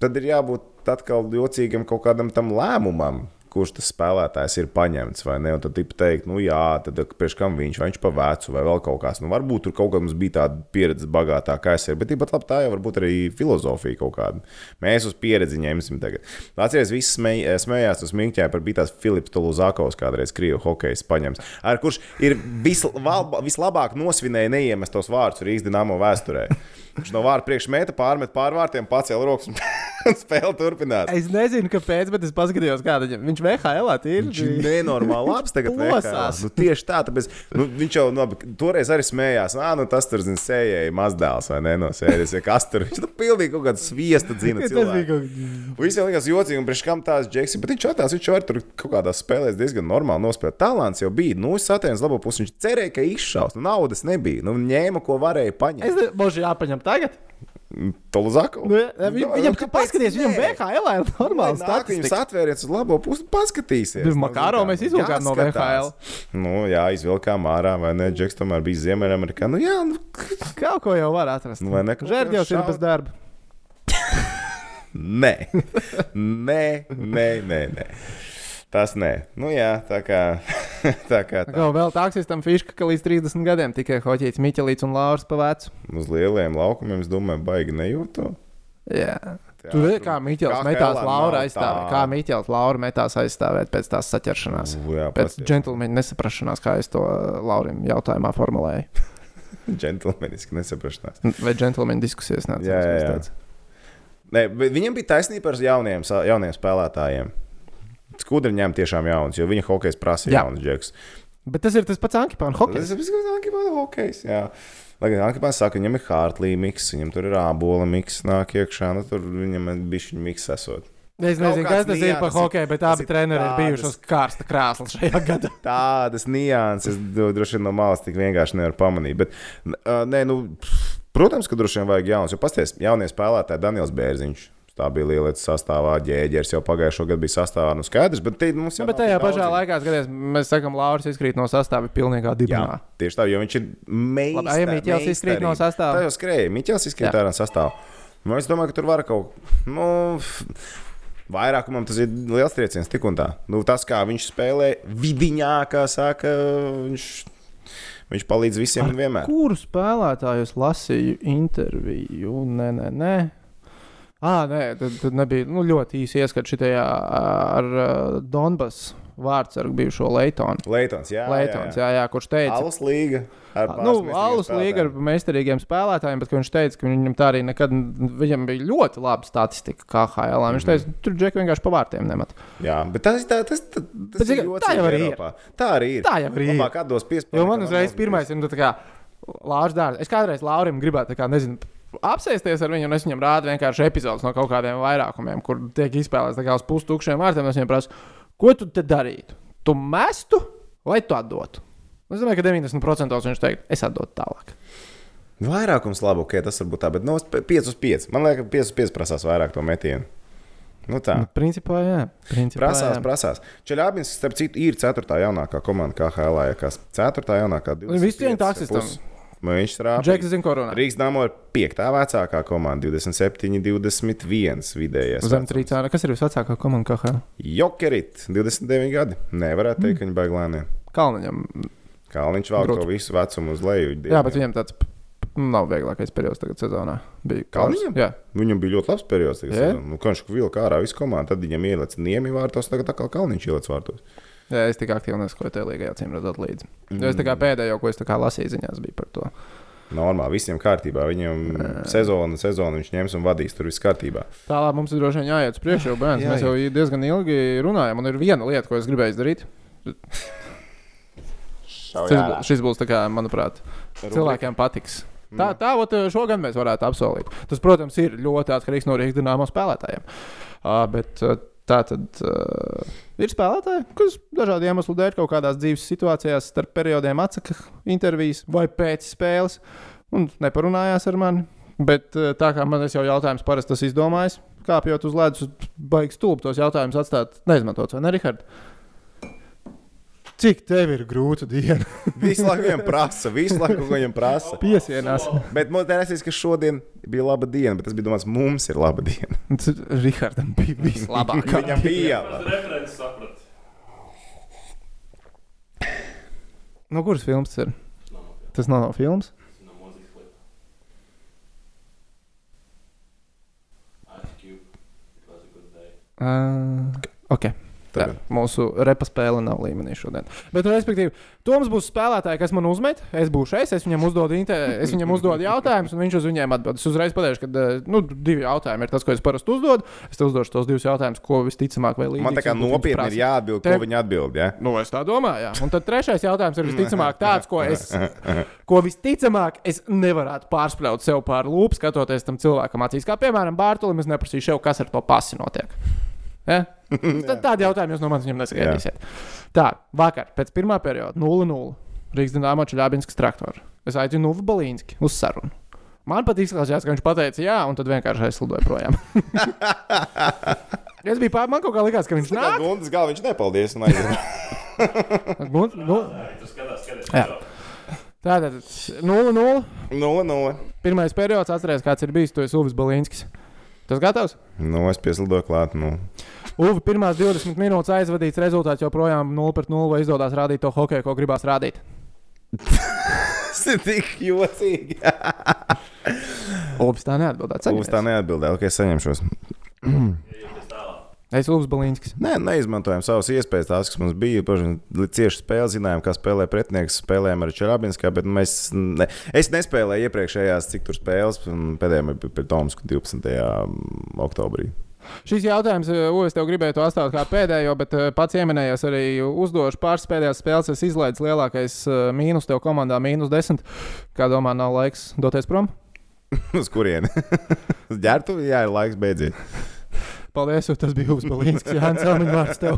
Speaker 2: tad ir jābūt atkal jocīgam kaut kādam tam lēmumam. Kurš tas spēlētājs ir paņemts, vai ne? Un tad tipa teikt, nu jā, tad priekš kam viņš, vai viņš pa vecu, vai vēl kaut kāds. Nu, varbūt tur kaut kāda mums bija tāda pieredze bagātāka aizsardzība, bet tāpat labi tā jau var būt arī filozofija kaut kāda. Mēs uz pieredzi ņemsim tagad. Atcerieties, visi smej, smējās uz Minkķē par bija tās Filips Tuluzakovs, kādreiz Krievu hokejs paņems, ar kurš ir visl, valba, vislabāk nosvinēja neiemestos vārdus Rīgas dīnāmo vēsturē. Viņš no vārda priekšmeta pārmet pārvārtiem, pacēla rokas un un spēle turpinās.
Speaker 1: Es nezinu, kāpēc, bet es paskatījos, kāda viņam viņš VHL
Speaker 2: Viņš
Speaker 1: ir.
Speaker 2: ir nenormāli labs tagad.
Speaker 1: Plosās.
Speaker 2: veikālās. Nu, tieši tā, tāpēc nu, viņš jau nu, labi, toreiz arī smējās. Nā, nu, tas tur zina, sējēji mazdēls vai ne no sērijas. Ja kas tur viņš tur pilnīgi kaut kāds sviesta dzina.
Speaker 1: Tas
Speaker 2: cilvēku.
Speaker 1: bija kaut kas.
Speaker 2: Un Visiem liekas, jocīgi, un priekš kam tās džeksa, bet viņš atnāca, viņš jau arī tur kaut kādā spēlē diezgan normāli nospēlēja. Talants jau bija, nu, satēns labo pusi, viņš cerēja, ka izšaus, nu, naudas nebija, nu, ņēma, ko varēja
Speaker 1: Es
Speaker 2: paņemt.
Speaker 1: nezinu, boži jāpaņem tagad.
Speaker 2: Tolzaku.
Speaker 1: Nu, vi- viņam, kā paskaties, viņam VHL ir normāls
Speaker 2: Nāk, viņas
Speaker 1: statistika.
Speaker 2: atvērienas uz labo pusi, paskatīsies.
Speaker 1: Bet
Speaker 2: Nu,
Speaker 1: Makaro
Speaker 2: zin kā,
Speaker 1: mēs izvilkām no
Speaker 2: jāskatās.
Speaker 1: VHL.
Speaker 2: Nu, jā, izvilkām ārā, vai ne? Džeks tomēr bija Ziemeļamerikā. Nu, jā, nu,
Speaker 1: Kaut ko jau var atrast.
Speaker 2: Nu, vai ne?
Speaker 1: Žērdjovs ir
Speaker 2: Šaut.
Speaker 1: bez darba.
Speaker 2: nē, nē, nē, nē. nē. Tas nē, nu jā, tā kā. Tā kā tā.
Speaker 1: Kā vēl taksistam fiška, ka līdz 30 gadiem tikai hoķīts Miķelīts un Lauris Pavēts.
Speaker 2: uz lieliem laukumiem, es domāju, baigi nejūtu.
Speaker 1: Jā.
Speaker 2: Teātru-
Speaker 1: Tur ir kā Miķels
Speaker 2: kā
Speaker 1: metās
Speaker 2: Helēna
Speaker 1: Laura
Speaker 2: nav
Speaker 1: aizstāvēt.
Speaker 2: tā.
Speaker 1: Kā Miķels Laura metās aizstāvēt pēc tās saķeršanās.
Speaker 2: U, jā,
Speaker 1: Pēc
Speaker 2: patiesi.
Speaker 1: džentlmeņa nesaprašanās, kā es to uh, Laurim jautājumā formulēju.
Speaker 2: Džentlmeniski nesaprašanās.
Speaker 1: Vai džentlmeņa diskusijas nāca?
Speaker 2: Jā, jā, jā. Nē, bet viņam bija taisnība ar jauniem, sa- jauniem spēlētājiem. Skudri ņēma tiešām jaunus, jo viņa hokeja prasa
Speaker 1: Jā.
Speaker 2: jaunus džekus.
Speaker 1: Bet tas ir tas pats Ankipāna
Speaker 2: Tas
Speaker 1: hockey.
Speaker 2: ir bijis Ankepāna hokejs. jā. Lai gan Ankepāns saka, viņam ir Hartlīna miks, viņam tur ir ābola miks, nāk iekšā, nu tur viņam bija šis miks esot.
Speaker 1: Es nezinu,
Speaker 2: Kaut
Speaker 1: kas
Speaker 2: kāds
Speaker 1: tas ir par
Speaker 2: nianses,
Speaker 1: hockey, bet
Speaker 2: tas
Speaker 1: abi
Speaker 2: ir
Speaker 1: treneri ir
Speaker 2: tādas-
Speaker 1: bijuši uz kārsta krāsla šajā gadā.
Speaker 2: tādas nianses do- droši vien no malas tik vienkārši nevar pamanīt. Bet, n- ā, nē, nu, pff, protams, ka droši vien vajag jaunas, jo pasties, jaunie spēlētāji Daniels Bērziņš. Tā bija liela sastāvā, ģēģeris jau pagājušā gada bija sastāvā. Nu, skaidrs, bet te, mums jau
Speaker 1: Bet
Speaker 2: nav
Speaker 1: tajā
Speaker 2: tik
Speaker 1: pašā
Speaker 2: daudz.
Speaker 1: laikā, kad mēs sakām, Lauris izkrīt no sastāvā pilnīgā dibinā.
Speaker 2: Jā, tieši tā, jo viņš ir meistars.
Speaker 1: Labi, ejam, Miķels izkrīt no sastāva.
Speaker 2: Tā jau skrēja, Miķels izkrīt
Speaker 1: Jā.
Speaker 2: ārā no sastāvā. Nu, es domāju, ka tur var kaut kā. Nu, f- Vairākumam tas ir liels trieciens, tik un tā. Nu, tas, kā viņš spēlē vidiņā, kā saka, viņš, viņš palīdz visiem un vienmēr.
Speaker 1: Kuru spēlētāju es lasīju interviju? Nē, nē, nē. Ah, nē, tad, tad nebija nu, ļoti īsi ieskats šajā ar uh, Donbass vārdsargu bijušo Leitonu.
Speaker 2: Leitons, jā.
Speaker 1: Leitons, jā, jā, kurš teica,
Speaker 2: Alus līga. Ar
Speaker 1: Nu,
Speaker 2: pāris meistarīgiem
Speaker 1: Alus līga ar
Speaker 2: spēlētājiem.
Speaker 1: meistarīgiem spēlētājiem, bet ka viņš teica, ka viņam tā arī nekad, viņam bija ļoti laba statistika KHL. Viņš teica, tur džek vienkārši pa vārtiem nemet.
Speaker 2: Jā, bet tas, tā, tas, tas, tas
Speaker 1: Bet,
Speaker 2: ir
Speaker 1: zini,
Speaker 2: ļoti
Speaker 1: tā jau arī ir.
Speaker 2: Tā arī ir.
Speaker 1: Tā jau arī ir.
Speaker 2: Labāk atdos piespēlēt.
Speaker 1: Jo man uzreiz pirmais ir, nu, tā kā Lārs Dārzs. Es kādreiz Laurim gribētu, tā kā, nezinu, apsēsties ar viņu, un es viņam rādu vienkārši epizodus no kaut kādiem vairākumiem, kur tiek izspēlēts tā kā uz pustukšiem vārtiem. Es viņam prasu, ko tu te darītu? Tu mestu vai tu atdotu? Un Es domāju, ka 90% viņš teiks, es atdotu tālāk.
Speaker 2: Vairākums labi, ok, tas varbūt tā, bet nu, no 5 uz 5. Man liekas, 5 uz 5 prasās vairāk to metienu. Nu tā.
Speaker 1: Principā, jā. Principā,
Speaker 2: Prasās,
Speaker 1: jā.
Speaker 2: prasās. Čeļābins, starp citu, ir 4. jaunākā komanda KHL, ja kas 4. jaunākā 25
Speaker 1: Visu dienu taksistam.
Speaker 2: pus. Nu, Viņš
Speaker 1: Džeks
Speaker 2: strādā.
Speaker 1: zina, ko runā.
Speaker 2: Rīgas Dāmo ir 5. vecākā komanda, 27, 21 vidējais.
Speaker 1: Zem
Speaker 2: vecums.
Speaker 1: trījā. Kas ir visvecākā komanda KHL?
Speaker 2: Jokerit, 29 gadi. Nevarētu teikt, ka viņi baigi lēnie.
Speaker 1: Kalniņam.
Speaker 2: Kā viņš vēl
Speaker 1: Mm. Grūti.
Speaker 2: to visu vecumu uz leju.
Speaker 1: Jā, bet viņam tāds p- p- nu, nav vieglākais periods tagad sezonā. Bija
Speaker 2: Kalniņam?
Speaker 1: Jā.
Speaker 2: Nu, Viņam bija ļoti labs periods. tagad
Speaker 1: Jā?
Speaker 2: sezonā. Nu, Kad viņš vilka ārā visu komandu, tad viņam ieliec niemi vārtos, tagad atkal Kalniņš ieliec vārtos.
Speaker 1: Jā, es tik aktīvi nesakoju tajā līgā, acīm redzot, līdzi. Mm. Es tā kā pēdējo, ko es tā kā lasīju ziņās, bija par to.
Speaker 2: Normāli, visiem kārtībā. Viņam sezona, sezona viņš ņems un vadīs, tur viss kārtībā.
Speaker 1: Tālāk mums ir droši vien jāiet uz priekšu, jo bērns, mēs
Speaker 2: Jāiet.
Speaker 1: jau diezgan ilgi runājam, un ir viena lieta, ko es gribēju darīt. Šis, bū- šis būs, tā kā, manuprāt, cilvēkiem patiks. Tā, tā ot, šogad mēs varētu apsolīt. Tas, protams, ir ļoti atkarīgs no Rīgas dīnāmo spēlētājiem. Uh, bet uh, tā tad uh, ir spēlētāji, kas dažādu iemeslu dēļ kaut kādās dzīves situācijās, starp periodiem atsaka intervijas vai pēc spēles un neparunājās ar mani. Bet uh, tā kā man es jau jautājums parasti tas izdomājis, kāpjot uz ledus, baigs stulbi tos jautājumus atstāt neizmantots, vai ne, Rihard? Cik tev ir grūta diena?
Speaker 2: Visu laiku viņam prasa, visu laiku ko viņam prasa.
Speaker 1: Piesienās.
Speaker 2: Bet man liekas, ka šodien bija laba diena, bet tas bija domāts, mums ir laba diena.
Speaker 1: Nu, Rihardam bija vislabākā.
Speaker 2: Viņam bija
Speaker 3: Tas referents saprata.
Speaker 1: No kuras filmas tas ir? Tas nav no filmas.
Speaker 3: No mūzikas klipa. Ice Cube. It was a good day.
Speaker 1: Uh, ok. Jā,
Speaker 2: Tagad.
Speaker 1: mūsu repa spēle nav līmenī šodien. Bet, nu, respektīvi, Toms būs spēlētājs, kas man uzmet. Es būšu es, es viņam uzdodu, inte- es viņam uzdodu jautājumus, un viņš uz viņiem atbild. Es uzreiz pateikšu, ka eh, nu, divi jautājumi ir tas, ko es parasti uzdodu. Es tev uzdošu tos divus jautājumus, ko visticamāk vai līdzīgi.
Speaker 2: Man tā kā nopietni ir jāatbild, ko
Speaker 1: Tev-
Speaker 2: viņi atbild. Ja?
Speaker 1: Nu, es tā domāju. Jā. Un tad trešais jautājums ir visticamāk tāds, ko, es, ko visticamāk es nevarētu pārspļaut sev pār lūpu, skatoties tam cilvēkam acīs. Kā piemēram, Bārtaļam, es neprasīju sev, kas ar to pasi notiek. Ja? Tad tādi jautājumi jūs no manis viņam nesagaidīsiet. Tā, vakar pēc pirmā perioda 0-0 Rīgas dīnāmā Čaļābinskas traktora. Es aicinu Nuvu Balīnski uz sarunu. Man pat izklausījās, ka viņš pateica jā, un tad vienkārši aizslidoja projām. es biju pārāk, man kaut kā likās, ka viņš nāk.
Speaker 2: Gundas galā viņš nepaldies. un aiziet.
Speaker 1: Nu, nu,
Speaker 3: Tu skaties, skaties.
Speaker 1: Jā. Tātad 0-0.
Speaker 2: Nulle, nulle.
Speaker 1: Pirmais periods, atcerieties, kāds ir bijis. Tu esi Uvis Balīnskis. Tas gatavs.
Speaker 2: Nu, es pieslidoju klāt. Nu.
Speaker 1: Uvi pirmās 20 minūtes aizvadīts, rezultāts joprojām 0-0. Vai izdodas rādīt to hokeju, ko gribās rādīt?
Speaker 2: Tas ir tik jocīgi.
Speaker 1: Uvis tā neatbildēja.
Speaker 2: Uz tā
Speaker 1: saņemies.
Speaker 2: neatbildēja. Ok, es saņemšos.
Speaker 1: Es esmu Uvis Balīnskis.
Speaker 2: Nē, neizmantojām savas iespējas, tās, kas mums bija. Protams, li- cieši spēle, zinājām, kā spēlē pretinieks, spēlējām ar Čerābinskā, bet mēs, ne, es nespēlēju iepriekšējās, cik tur spēles, un pēdējā bija pret Tomsku 12. mm, oktobrī.
Speaker 1: Šis jautājums, ko es tev gribēju to atstāt kā pēdējo, bet eh, pats ieminējies arī uzdošu pāris pēdējās spēles. Es izlaidu lielākais eh, mīnus tev komandā, mīnus 10. Kā domā, nav laiks doties prom?
Speaker 2: Uz kurieni? Uz ģērbtuvi, jā, ir laiks beidzies.
Speaker 1: Paldies, jo tas bija Uvis Balīnskis. Jā, Hans, Elmiņa vārds tev.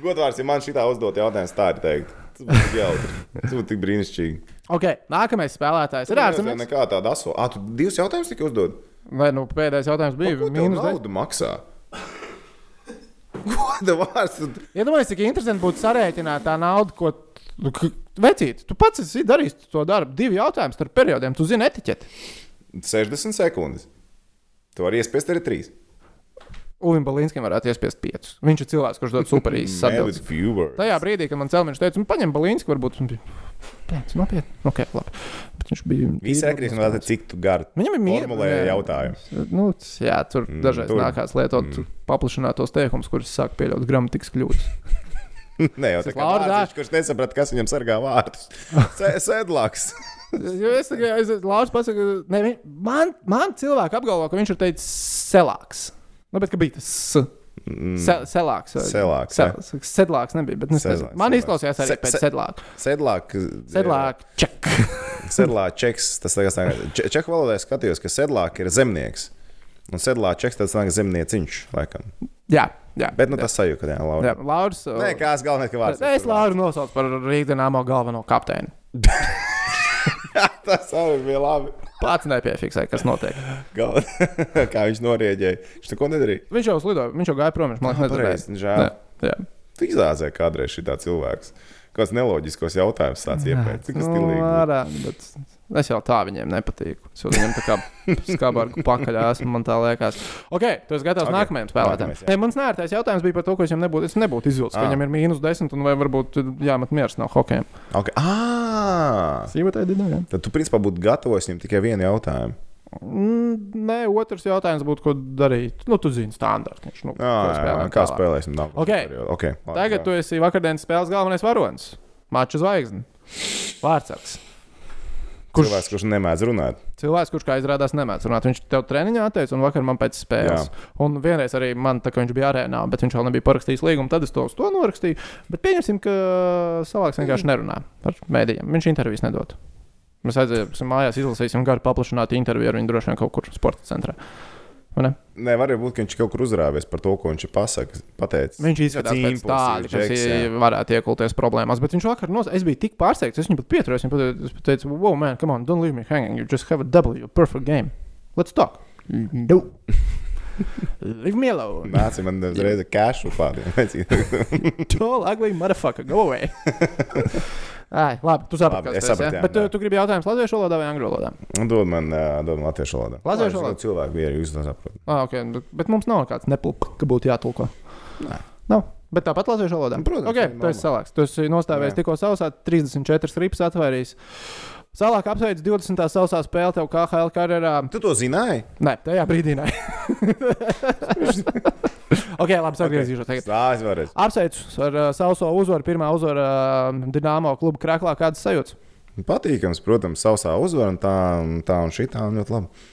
Speaker 2: Godvārds, ja man šitā uzdot jautājumu, tā ir teikt. Tas būtu tik jautri. Tas būtu tik brīnišķīgi.
Speaker 1: Ok, nākamais spēlētājs ir
Speaker 2: Nezinu,
Speaker 1: ārzemnieks.
Speaker 2: Nekā tāda aso. Ah, tu divus jautājumus tikai uzdod.
Speaker 1: Vai nu pēdējais jautājums bija
Speaker 2: Ko tev
Speaker 1: mīnus 10?
Speaker 2: naudu maksā? Goda vārds. tu-
Speaker 1: Iedomājieties, cik interesanti būtu sarēķināt tā naudu, ko. nu, k- Vecīt, tu pats esi darījis to darbu. Divi jautājumi starp periodiem. Tu zini etiķeti.
Speaker 2: 60 sekundes. Tu vari iespiest arī 3.
Speaker 1: Uvim Balīnskim varētu iespiest piecus. Viņš ir cilvēks, kurš dod super īsas atbildes.
Speaker 2: viewer.
Speaker 1: Tajā brīdī, kad man cēlīja, viņš teica, nu, paņem Balīnsku, varbūt viņš bija. Pēc, nopietni. Ok, labi. Bet viņš bija.
Speaker 2: Viss atkarīgs no tā, cik tu gari
Speaker 1: Viņam ir mīl-
Speaker 2: formulēji
Speaker 1: jā.
Speaker 2: jautājumu.
Speaker 1: Nu, c- jā, tur mm, dažreiz
Speaker 2: tur-
Speaker 1: tur. nākās lietot mm. paplašinātos teikumus, kurus sāk pieļaut gramatikas kļūdas.
Speaker 2: Nē, jau tā kā
Speaker 1: Laura,
Speaker 2: vārdiņš, kurš nesaprata, kas viņam sargā vārdus. Sē- Sēdlaks.
Speaker 1: Jo es tikai Lārs pasaka, ne, viņ, man, man cilvēki apgalvo, ka viņš ir teicis selāks. Nu, bet ka bija tas. s. Se, selāks. vai-
Speaker 2: Selāks,
Speaker 1: Se,
Speaker 2: Mm. jā.
Speaker 1: se- sedlāks nebija, bet neskaidrs.
Speaker 2: Sedlāks,
Speaker 1: Man
Speaker 2: sedlāks.
Speaker 1: izklausījās
Speaker 2: Se-
Speaker 1: arī pēc
Speaker 2: se-
Speaker 1: sedlāka.
Speaker 2: Sēdlaks.
Speaker 1: Sedlāk, ček.
Speaker 2: Sedlāka eh, čeks. Tas tagad sanāk. Če- Čehu valodā es skatījos, ka sedlāka ir zemnieks. Un sedlāka čeks tas sanāk zemnieciņš, laikam.
Speaker 1: Jā, jā.
Speaker 2: Bet nu tas sajūta, jā,
Speaker 1: jā,
Speaker 2: Laura.
Speaker 1: Lauris. uh,
Speaker 2: Nē, kāds galvenais, ka vārds.
Speaker 1: Es Lauru nosaucu par Rīgdienāmo galveno kapteini.
Speaker 2: Tas arī bija labi.
Speaker 1: Pats nepiefiksēja, kas notiek.
Speaker 2: Gal... Kā viņš norēģēja. Viņš neko nedarīja.
Speaker 1: Viņš jau slidoja, viņš jau gāja prom, viņš man liekas,
Speaker 2: Pareizi,
Speaker 1: nedzirdēja.
Speaker 2: žēl.
Speaker 1: Jā, jā.
Speaker 2: Tu izrādē kādreiz šī cilvēks. Kāds neloģiskos jautājumus tāds iepērts. Cik tas
Speaker 1: Nu,
Speaker 2: stilīgi.
Speaker 1: ārā, bet es jau tā viņiem nepatīku. Es jau viņiem tā kā skābāku pakaļā esmu, man tā liekas. Ok, tu esi gatavs
Speaker 2: Ok,
Speaker 1: okay. nākamajam spēlētājam.
Speaker 2: nākamais, jā. Ah.
Speaker 1: Nē, mans nērtais jautājums bija par to, ko es viņam nebūtu, es nebūtu izvilcis.
Speaker 2: Ā.
Speaker 1: Viņam ir mīnus 10 un vai varbūt jāmet miers no hokeja.
Speaker 2: Okay. Ah!
Speaker 1: Sīvotai dinājai.
Speaker 2: Tad tu principā būtu gatavs viņam tikai vienu jautājumu.
Speaker 1: Mm, Nē, otrs jautājums būtu, ko darīt. Nu, tu zini, standartiņš. Nu,
Speaker 2: Jā,
Speaker 1: ko
Speaker 2: Ah, jā, jā,
Speaker 1: spēlēt
Speaker 2: kā
Speaker 1: tālāk.
Speaker 2: spēlēsim? Nav.
Speaker 1: Ok.
Speaker 2: okay labi,
Speaker 1: Tagad tu esi vakardienas spēles galvenais varonis. Maču zvaigzne. Vārtsargs.
Speaker 2: kurš cilvēks, kurš nemēdz runāt?
Speaker 1: cilvēks, kurš, kā izrādās, nemēdz runāt. Viņš tev treniņā teica, un vakar man pēc spēles. Jā. Un vienreiz arī man, tā kā viņš bija arēnā, bet viņš vēl nebija parakstījis līgumu, tad es to uz to norakstīju. Bet pieņemsim, ka cilvēks vienkārši nerunā ar mēdījiem. Viņš intervijas nedod. Mēs aiziesim mājās, izlasīsim garu paplašinātu interviju ar viņu droši vien kaut kur sporta centrā. Vai ne?
Speaker 2: Nē, var būt, ka viņš kaut kur uzrāvies par to, ko viņš ir pasaka, pateicis.
Speaker 1: Viņš izskatās pēc tāda, kas i- varētu iekulties problēmās. Bet viņš vakar nos... Es biju tik pārsteigts, es viņu pat pieturēju. Es viņam pat- es pat teicu, wow, man, come on, don't leave me hanging. You just have a double, your perfect game. Let's talk. No. leave me alone.
Speaker 2: Nāc, man uzreiz cash upādīja.
Speaker 1: Tall, ugly motherfucker, go away. Ai, labi, tu saprati,
Speaker 2: Labi,
Speaker 1: kas
Speaker 2: es
Speaker 1: tas
Speaker 2: sapratu,
Speaker 1: ir.
Speaker 2: jā,
Speaker 1: Bet eh, tu,
Speaker 2: jā.
Speaker 1: tu gribi jautājumus latviešu valodā vai angļu valodā?
Speaker 2: Dod man, ā, dod man latviešu valodu.
Speaker 1: Latviešu valodā?
Speaker 2: Cilvēku bija arī, jūs to saprotat.
Speaker 1: Ah, okay. nu, Bet mums nav kāds neplūks, ka būtu jātulko. Nav. Bet tāpat latviešu valodā.
Speaker 2: Nu, protams,
Speaker 1: okay,
Speaker 2: jā,
Speaker 1: tu esi
Speaker 2: normāli.
Speaker 1: salāks. Tu esi nostājies
Speaker 2: Jā.
Speaker 1: tikko sausā, 34 rips atvērījis. Salāk apsveic 20. sausā spēle tev KHL karjerā.
Speaker 2: Tu to zināji?
Speaker 1: Nē, tajā brīdī nē. ok, labi, sagriezīšos tagad.
Speaker 2: Tā es varu.
Speaker 1: Apsveicu ar uh, sauso uzvaru, pirmā uzvara uh, Dienāmo kluba krāklā. Kādas sajūtas?
Speaker 2: Patīkams, protams, sausā uzvara un tā, un tā un šī tā un ļoti labi.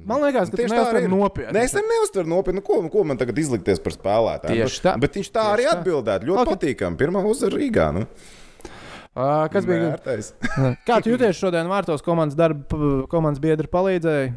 Speaker 1: Man liekas, ka tas
Speaker 2: Tieši tā arī
Speaker 1: ir
Speaker 2: ir.
Speaker 1: nopietni.
Speaker 2: Nē, es tam neuztveru nopietni. Nu, Ko, ko man tagad izlikties par spēlētāju?
Speaker 1: Tieši
Speaker 2: Bet-
Speaker 1: tā.
Speaker 2: Bet viņš tā
Speaker 1: Tieši
Speaker 2: arī
Speaker 1: tā.
Speaker 2: atbildēja.
Speaker 1: Ok.
Speaker 2: Ļoti okay. patīkami. Pirmā uzvara Rīgā. Nu.
Speaker 1: Uh, kas bija?
Speaker 2: Vērtais.
Speaker 1: Kā tu jūties šodien vārtos komandas darba, p- komandas biedra palīdzēja?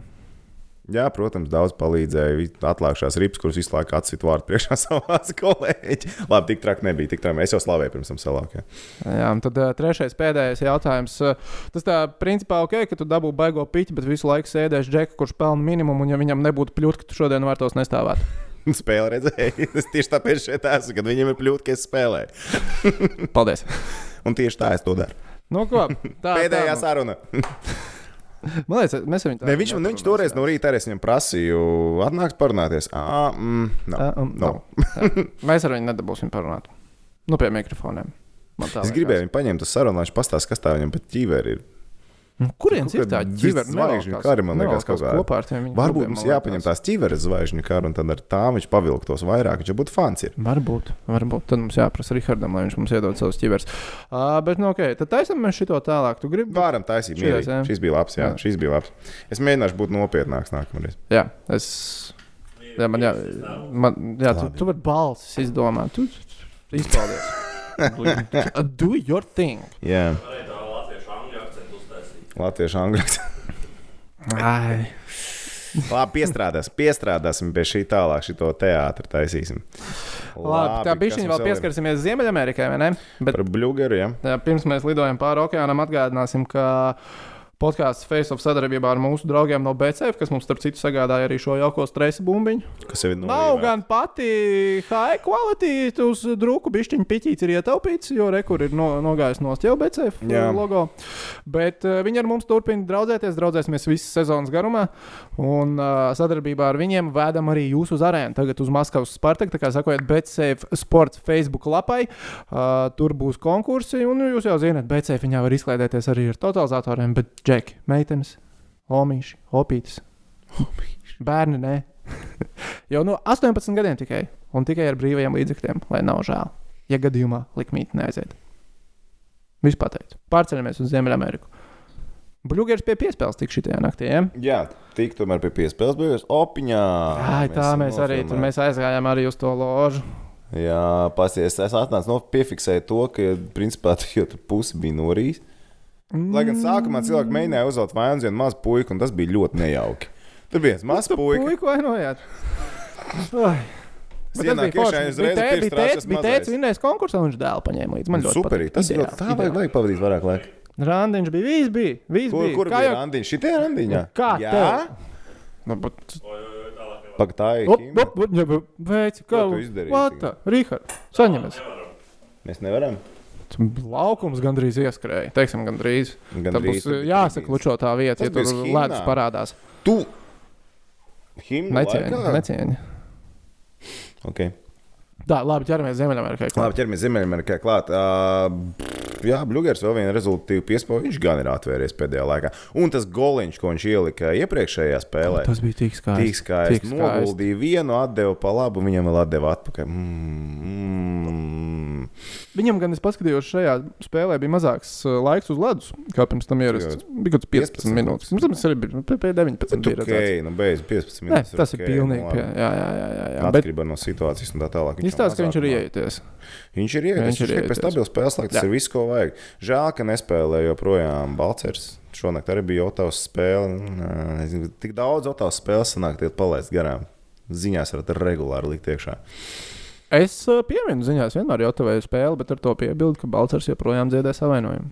Speaker 2: Jā, protams, daudz palīdzēja. Vi- Atlākšās rips, kurus visu laiku atsita vārdu priekšā savās kolēģi. Labi, tik traki nebija. Tik traki. Es jau slavēju pirms tam salākiem.
Speaker 1: Jā, un tad uh, trešais, pēdējais jautājums. Uh, tas tā principā ok, ka tu dabū baigo piķi, bet visu laiku sēdēsi džeku, kurš pelna minimumu, un ja viņam nebūtu pļūt, ka tu šodien vārtos nestāvētu.
Speaker 2: Spēle redzēja. Es tieši tāpēc šeit esmu, kad viņiem ir kļūda, ka es spēlēju.
Speaker 1: Paldies!
Speaker 2: Un tieši tā es to daru.
Speaker 1: Nu, ko? Tā
Speaker 2: Pēdējā
Speaker 1: tā,
Speaker 2: saruna.
Speaker 1: nu. Man liekas, mēs ar viņu
Speaker 2: Ne, viņš man viņš toreiz no rīta arī es viņam prasīju, atnāks parunāties. Ah, mm,
Speaker 1: Ā,
Speaker 2: no.
Speaker 1: mm,
Speaker 2: no.
Speaker 1: Mēs ar viņu nedabūsim parunāt. Nu, pie mikrofoniem. Man tā
Speaker 2: Es
Speaker 1: liekas.
Speaker 2: gribēju viņu paņemt uz sarunu, lai viņš pastāsta, kas tā viņam pat ķīveri ir.
Speaker 1: Nu, Kurienes ir
Speaker 2: Kaut
Speaker 1: tā
Speaker 2: kāda
Speaker 1: ģimene?
Speaker 2: zvaigžņu kari, man liekas, kaut kā.
Speaker 1: kopā ar tiem. viņu
Speaker 2: Varbūt
Speaker 1: klubiem,
Speaker 2: mums
Speaker 1: man liekas.
Speaker 2: jāpaņem tās ķīveres zvaigžņu kara, un tad ar tām viņš pavilktos vairāk, viņš jau būtu fans. Ir.
Speaker 1: Varbūt, varbūt. Tad mums jāprasa Rihardam, lai viņš mums iedod savus ķivers. Uh, bet, nu, ok, tad taisam mēs šito tālāk. Tu gribi?
Speaker 2: Vāram taisīt,
Speaker 1: Šajās,
Speaker 2: mierīgi.
Speaker 1: jā.
Speaker 2: Šis bija labs, jā,
Speaker 1: Jā.
Speaker 2: šis bija labs. Es mēģināšu būt nopietnāks nākamreiz.
Speaker 1: Jā, es. Jā, man jā, man, jā tu, tu vari balsis izdomāt. Tu, tu, tu izpaudies. Do- Do your thing.
Speaker 2: Jā,
Speaker 3: Varēja tā latviešu angļu akcentu uztaisīt.
Speaker 2: latviešu angļu.
Speaker 1: Ai.
Speaker 2: Labi, piestrādās, piestrādāsim pie šī tālāk, šito teātru taisīsim.
Speaker 1: Labi, tā
Speaker 2: kas
Speaker 1: bišķiņa
Speaker 2: mums
Speaker 1: vēl
Speaker 2: ir?
Speaker 1: pieskarsimies Ziemeļamerikai, vai ne? Bet
Speaker 2: Par blugeru, jā.
Speaker 1: Jā, Pirms mēs lidojam pāri okeānam, atgādināsim, ka podkāsts Face of sadarbībā ar mūsu draugiem no BCF, kas mums, starp citu, sagādāja arī šo jauko streisa bumbiņu.
Speaker 2: Kas sevi
Speaker 1: Nav
Speaker 2: novietoja.
Speaker 1: gan pati high quality, uz drūku pišķiņu piķīts ir ietaupīts, jo rekur ir no, nogājis no stila BCF
Speaker 2: Jā.
Speaker 1: logo. Bet eh, viņi ar mums turpina draudzēties, draudzēsimies visas sezonas garumā. Un eh, sadarbībā ar viņiem vēdam arī jūs uz arēnu, tagad uz Maskavas Spartaku. Tā kā sakojiet, BCF sports Facebook lapai. Uh, tur būs konkursi, un nu, jūs jau zināt, BCF viņā var izklaidēties arī ar totalizatoriem, bet džeki, meitenes, omīši, opītis. Bērni, nē. jau no 18 gadiem tikai, un tikai ar brīvajiem līdzekļiem, lai nav žēl. Ja gadījumā likmīte neaiziet. Vispār teikt, pārceļamies uz Ziemeļameriku. Bluķers pie piespēles tik šitajā naktī. Ja?
Speaker 2: Jā, tik tomēr pie piespēles beigās opiņā.
Speaker 1: Ai, tā mēs arī tur mēs aizgājām arī uz to ložu.
Speaker 2: Jā, pasies, es atnācu, no piefiksēju to, ka, principā, tu jau tur pusi bija norīs. Lai gan sākumā
Speaker 1: Mm.
Speaker 2: cilvēki mēģināja uzvelt vainu uz vienu mazu puiku, un tas bija ļoti nejauki. Tur bija viens
Speaker 1: Nu,
Speaker 2: mazs puika,
Speaker 1: Puiku vainojāt. Ai. nu Bet tas
Speaker 2: ienāk
Speaker 1: bija
Speaker 2: iekšā,
Speaker 1: forši.
Speaker 2: uzreiz
Speaker 1: Bija tē- bija
Speaker 2: pirkstu
Speaker 1: tēvs,
Speaker 2: rāčas
Speaker 1: bija
Speaker 2: mazais.
Speaker 1: tēvs vinnējis konkursā, un viņš dēlu paņēma līdzi. Man ļoti
Speaker 2: Super,
Speaker 1: patīk.
Speaker 2: tas
Speaker 1: Ideāli,
Speaker 2: ļoti tā vajag,
Speaker 1: ideāli.
Speaker 2: vajag pavadīt vairāk laika.
Speaker 1: Randiņš bija, viss bija. Viss
Speaker 2: Kur,
Speaker 1: bija.
Speaker 2: kur
Speaker 1: Kā
Speaker 2: bija
Speaker 1: jau- Nu,
Speaker 2: randiņš? Šitie randiņā?
Speaker 1: Kā
Speaker 2: Jā,
Speaker 1: tev? Nu, bet-
Speaker 3: Oi, oi, oi, tālāk nevar.
Speaker 2: Pak, tā ir.
Speaker 1: Op,
Speaker 2: himna.
Speaker 1: op, op, ja, bet Veici, kā
Speaker 2: Ko tu izdarīji
Speaker 1: Vata, Rihard, saņemies.
Speaker 3: Nevaram.
Speaker 2: Mēs nevaram.
Speaker 1: Tu Laukums gandrīz ieskrēja. Teiksim, gandrīz. Tā
Speaker 2: Gandrīz,
Speaker 1: būs
Speaker 2: bet
Speaker 1: jāsaka
Speaker 2: gandrīz.
Speaker 1: lučo tā vieta,
Speaker 2: Tas
Speaker 1: ja tur
Speaker 2: bija uz Himnām.
Speaker 1: ledus parādās.
Speaker 2: Tu! Himna laikā?
Speaker 1: Necieņi, necieņi.
Speaker 2: Okay.
Speaker 1: Tā, labi, ķeramies Ziemeļamerikai. klāt.
Speaker 2: Labi, ķeramies Ziemeļamerikai klāt. Uh, jā, Bluegers vēl vienu rezultātu piespēju. Viņš gan ir atvērties pēdējā laikā. Un tas goliņš, ko viņš ielika iepriekšējā spēlē,
Speaker 1: Tas bija tik skaisti.
Speaker 2: tik skaisti.
Speaker 1: skaisti.
Speaker 2: Noguldīja vienu, atdeva pa labu, un viņam vēl atdeva atpakaļ. Mm, mm.
Speaker 1: Viņam gan es paskatījos, šajā spēlē bija mazāks uh, laiks uz ledus, kā pirms tam ierasts. Bija kaut kāds 15, 15 minūtes. Mums tas arī bija pie- pie 19
Speaker 2: Tur
Speaker 1: bija redzēts.
Speaker 2: ok, nu beidz 15
Speaker 1: Nē,
Speaker 2: minūtes. nu
Speaker 1: tas ir pilnīgi pie. Jā, jā, jā. jā, jā. Bet
Speaker 2: Atkarībā no situācijas un tā tālāk. Viņš
Speaker 1: izstāsta, ka
Speaker 2: vēl
Speaker 1: viņš ir
Speaker 2: mazāk nu.
Speaker 1: ieejties. Viņš
Speaker 2: Viņš ir ierakstījis. Viņš
Speaker 1: ir
Speaker 2: ir ierakstījis. Pēc
Speaker 1: ierakstījis.
Speaker 2: stabilas spēles, laiks, tas
Speaker 1: Jā.
Speaker 2: ir viss, ko vajag. Žēl, ka nespēlē joprojām Balčers. Šonakt arī bija Otavas spēle. Nā, nezinu, Tik daudz Otavas spēles sanāk, tiek palaist garām. Ziņās varat regulāri likt iekšā.
Speaker 1: Es uh, pieminu ziņās, vienmēr jautāju spēli, bet ar to piebildu, ka Balčers joprojām dziedē savainojumu.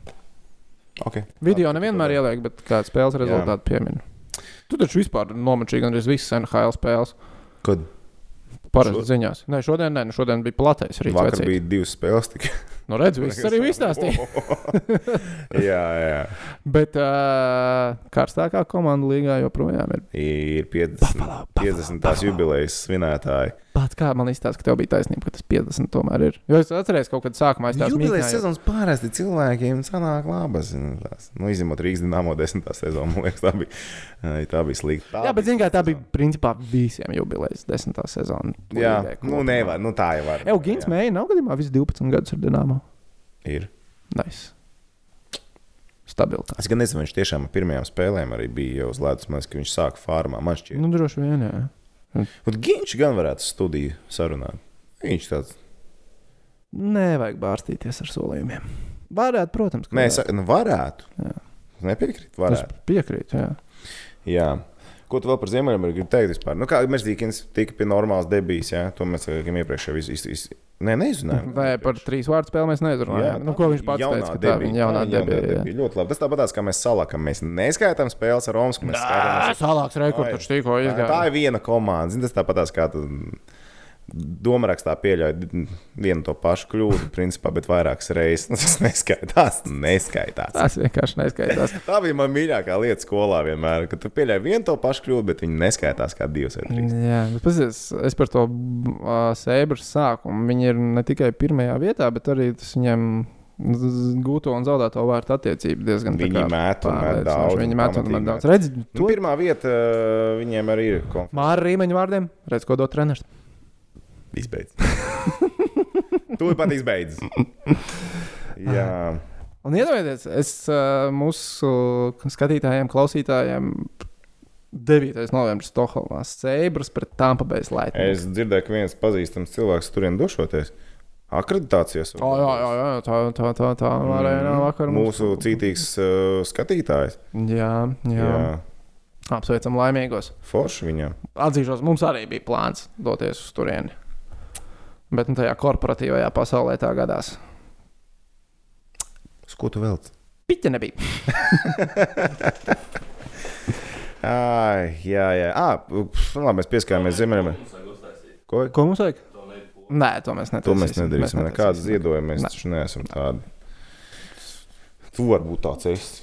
Speaker 2: Okay.
Speaker 1: Video nevienmēr ieliek, bet kā spēles rezultātu pieminu. Tu taču vispār nomačīji gandrīz visas NHL spēles.
Speaker 2: Kad
Speaker 1: Parasti
Speaker 2: Šo-
Speaker 1: ziņās. Nē, šodien, nē, nu šodien bija platais rīts.
Speaker 2: vakar
Speaker 1: vecīt.
Speaker 2: bija divas spēles, tikai
Speaker 1: Nu, redz, viss arī izstāstīja.
Speaker 2: jā, jā.
Speaker 1: Bet uh, karstākā komanda līgā joprojām ir
Speaker 2: Ir 50. 50. jubilejas svinētāji.
Speaker 1: Pats kā man izstāsta, ka tev bija taisnība, ka tas 50 tomēr ir. Jo es atceros, ka kaut kad sākumā es tādu
Speaker 2: Jubilejas sezonas parasti cilvēkiem sanāk labas. nu, tās. Nu, izņemot Rīgas dīnāmo desmitā sezonu, man liekas, tā bija, ai, tā bija slikta. Tā
Speaker 1: Jā, bet
Speaker 2: bija
Speaker 1: zināmā mērā tā
Speaker 2: slikta
Speaker 1: bija principā visiem jubilejas desmitā sezonā.
Speaker 2: sezona. Jā, nu nevar, nu tā jau var.
Speaker 1: Eugēns
Speaker 2: Jā.
Speaker 1: Mēja nav gadījumā visu 12 gadus ar Dienāmu.
Speaker 2: Ir.
Speaker 1: Nice. Stabilitāte.
Speaker 2: Es gan nezinu, viņš tiešām ar pirmajām spēlēm arī bija jau uz ledus. Man liekas, ka viņš sāka farmā. Man šķiet,
Speaker 1: Nu, droši vien, jā.
Speaker 2: Un Giņš gan varētu studiju sarunāt. Viņš tāds
Speaker 1: Nevajag bārstīties ar solījumiem. Varētu, protams,
Speaker 2: - nē, es saku, nu varētu.
Speaker 1: Jā. Nu,
Speaker 2: Es nepiekrītu,
Speaker 1: es
Speaker 2: varētu.
Speaker 1: piekrītu. Jā.
Speaker 2: Jā. Ko tu vēl par Ziemeļameriku gribi teikt vispār? Nu, kā Mežģīkins tika pie normālas debijas, jā, to mēs laikam iepriekš jau iz- iz- iz- Nē, neizrunājām.
Speaker 1: Vai par trīs vārdu spēli mēs
Speaker 2: Jā,
Speaker 1: neizrunājām?
Speaker 2: tā
Speaker 1: Nu, ko viņš
Speaker 2: bija
Speaker 1: pats
Speaker 2: jaunā
Speaker 1: teica? ka Tā
Speaker 2: debija,
Speaker 1: viņa jaunā
Speaker 2: tā
Speaker 1: debija. jā.
Speaker 2: Ļoti labi. Tas tāpat kā mēs salakām. Mēs neskaitām spēles ar Romas, mēs skatāmies.
Speaker 1: Salāks rekords taču tikko
Speaker 2: Tā, ir- tā
Speaker 1: izgāja.
Speaker 2: ir viena komanda. Zini, tas tāpat kā tu domārakstā pieļauj vienu to pašu kļūdu, principā, bet vairākas reizes. Nu, tas neskaitās. neskaitās.
Speaker 1: Tas vienkārši neskaidrs.
Speaker 2: Tā bija mana mīļākā lieta skolā vienmēr, kad tu pieļāvi vienu to pašu kļūdu, bet viņi neskaitās kā divas vai trīs.
Speaker 1: Jā, bet pazies, es par to uh, sēbras sākumu. Viņi ir ne tikai pirmajā vietā, bet arī tas viņiem z- gūto un zaudēto vārtu attiecību diezgan
Speaker 2: Viņi
Speaker 1: tā kā
Speaker 2: met un met
Speaker 1: pārliecinoši.
Speaker 2: daudz un
Speaker 1: Viņi met un
Speaker 2: pamatīgi
Speaker 1: met daudz.
Speaker 2: met.
Speaker 1: Redzi,
Speaker 2: Nu,
Speaker 1: to ir
Speaker 2: pirmā vieta uh, viņiem arī ir konf-
Speaker 1: Māra Rīmeņa vārdiem. Redz, ko dod treneris.
Speaker 2: izbeidz. tu pat izbeidz. Jā,
Speaker 1: Un iedomājieties, es uh, mūsu skatītājiem, klausītājiem. 9. novembris Stokholmā Sēbras pret Tampa Bay Lightning.
Speaker 2: es dzirdēju, ka viens pazīstams cilvēks turien došoties. Akreditācijas
Speaker 1: Tā, jā, jā, jā, tā, tā, tā, tā arēnā vakarā.
Speaker 2: Mūsu cītīgs uh, skatītājs.
Speaker 1: Jā, jā. jā.
Speaker 2: Jā,
Speaker 1: Apsveicam laimīgos.
Speaker 2: forši viņam.
Speaker 1: Atzīšos, mums arī bija plāns doties uz turieni. Bet nu, tajā korporatīvajā pasaulē tā gadās.
Speaker 2: Uz ko tu velc?
Speaker 1: Piķa nebija.
Speaker 2: Ai, jā, jā. Ah, labi, mēs pieskārāmies zemēm. Ko?
Speaker 1: Ko mums vajag? Nē, to mēs
Speaker 2: To
Speaker 1: nedarīsim.
Speaker 2: mēs nedarīsim. Nekādas ziedojumus mēs
Speaker 1: Nē.
Speaker 2: taču neesam tādi. Tu vari būt tāds esi.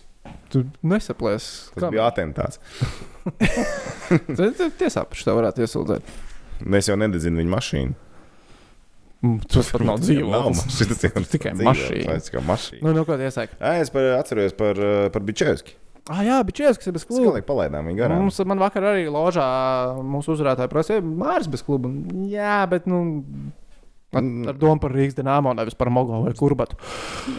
Speaker 1: Tu nesaplēs.
Speaker 2: Tas Kam? bija atentāts.
Speaker 1: atzīts. Tiesā par šo varētu iesūdzēt.
Speaker 2: Mēs jau nedzinām viņa mašīnu.
Speaker 1: Mm, Tas pat nav dzīvojums.
Speaker 2: Tas jau nav
Speaker 1: Tikai
Speaker 2: dzīvoklis.
Speaker 1: mašīna.
Speaker 2: Tas tikai mašīna.
Speaker 1: Nu, nu, ko tu iesaki?
Speaker 2: Ai, Es par, atceros par, eh, par Bičevski.
Speaker 1: Ah, jā, bija čies, kas ir bez
Speaker 2: Mēs kā
Speaker 1: kluba.
Speaker 2: lai palaidām viņu garām.
Speaker 1: Mums, man vakar arī ložā mūsu uzrādātāji prasīja, Mārcis bez kluba. Un, Jā, bet nu, ar, ar domu par Rīgas dīnāmo, nevis par Mogo vai Kurbatu.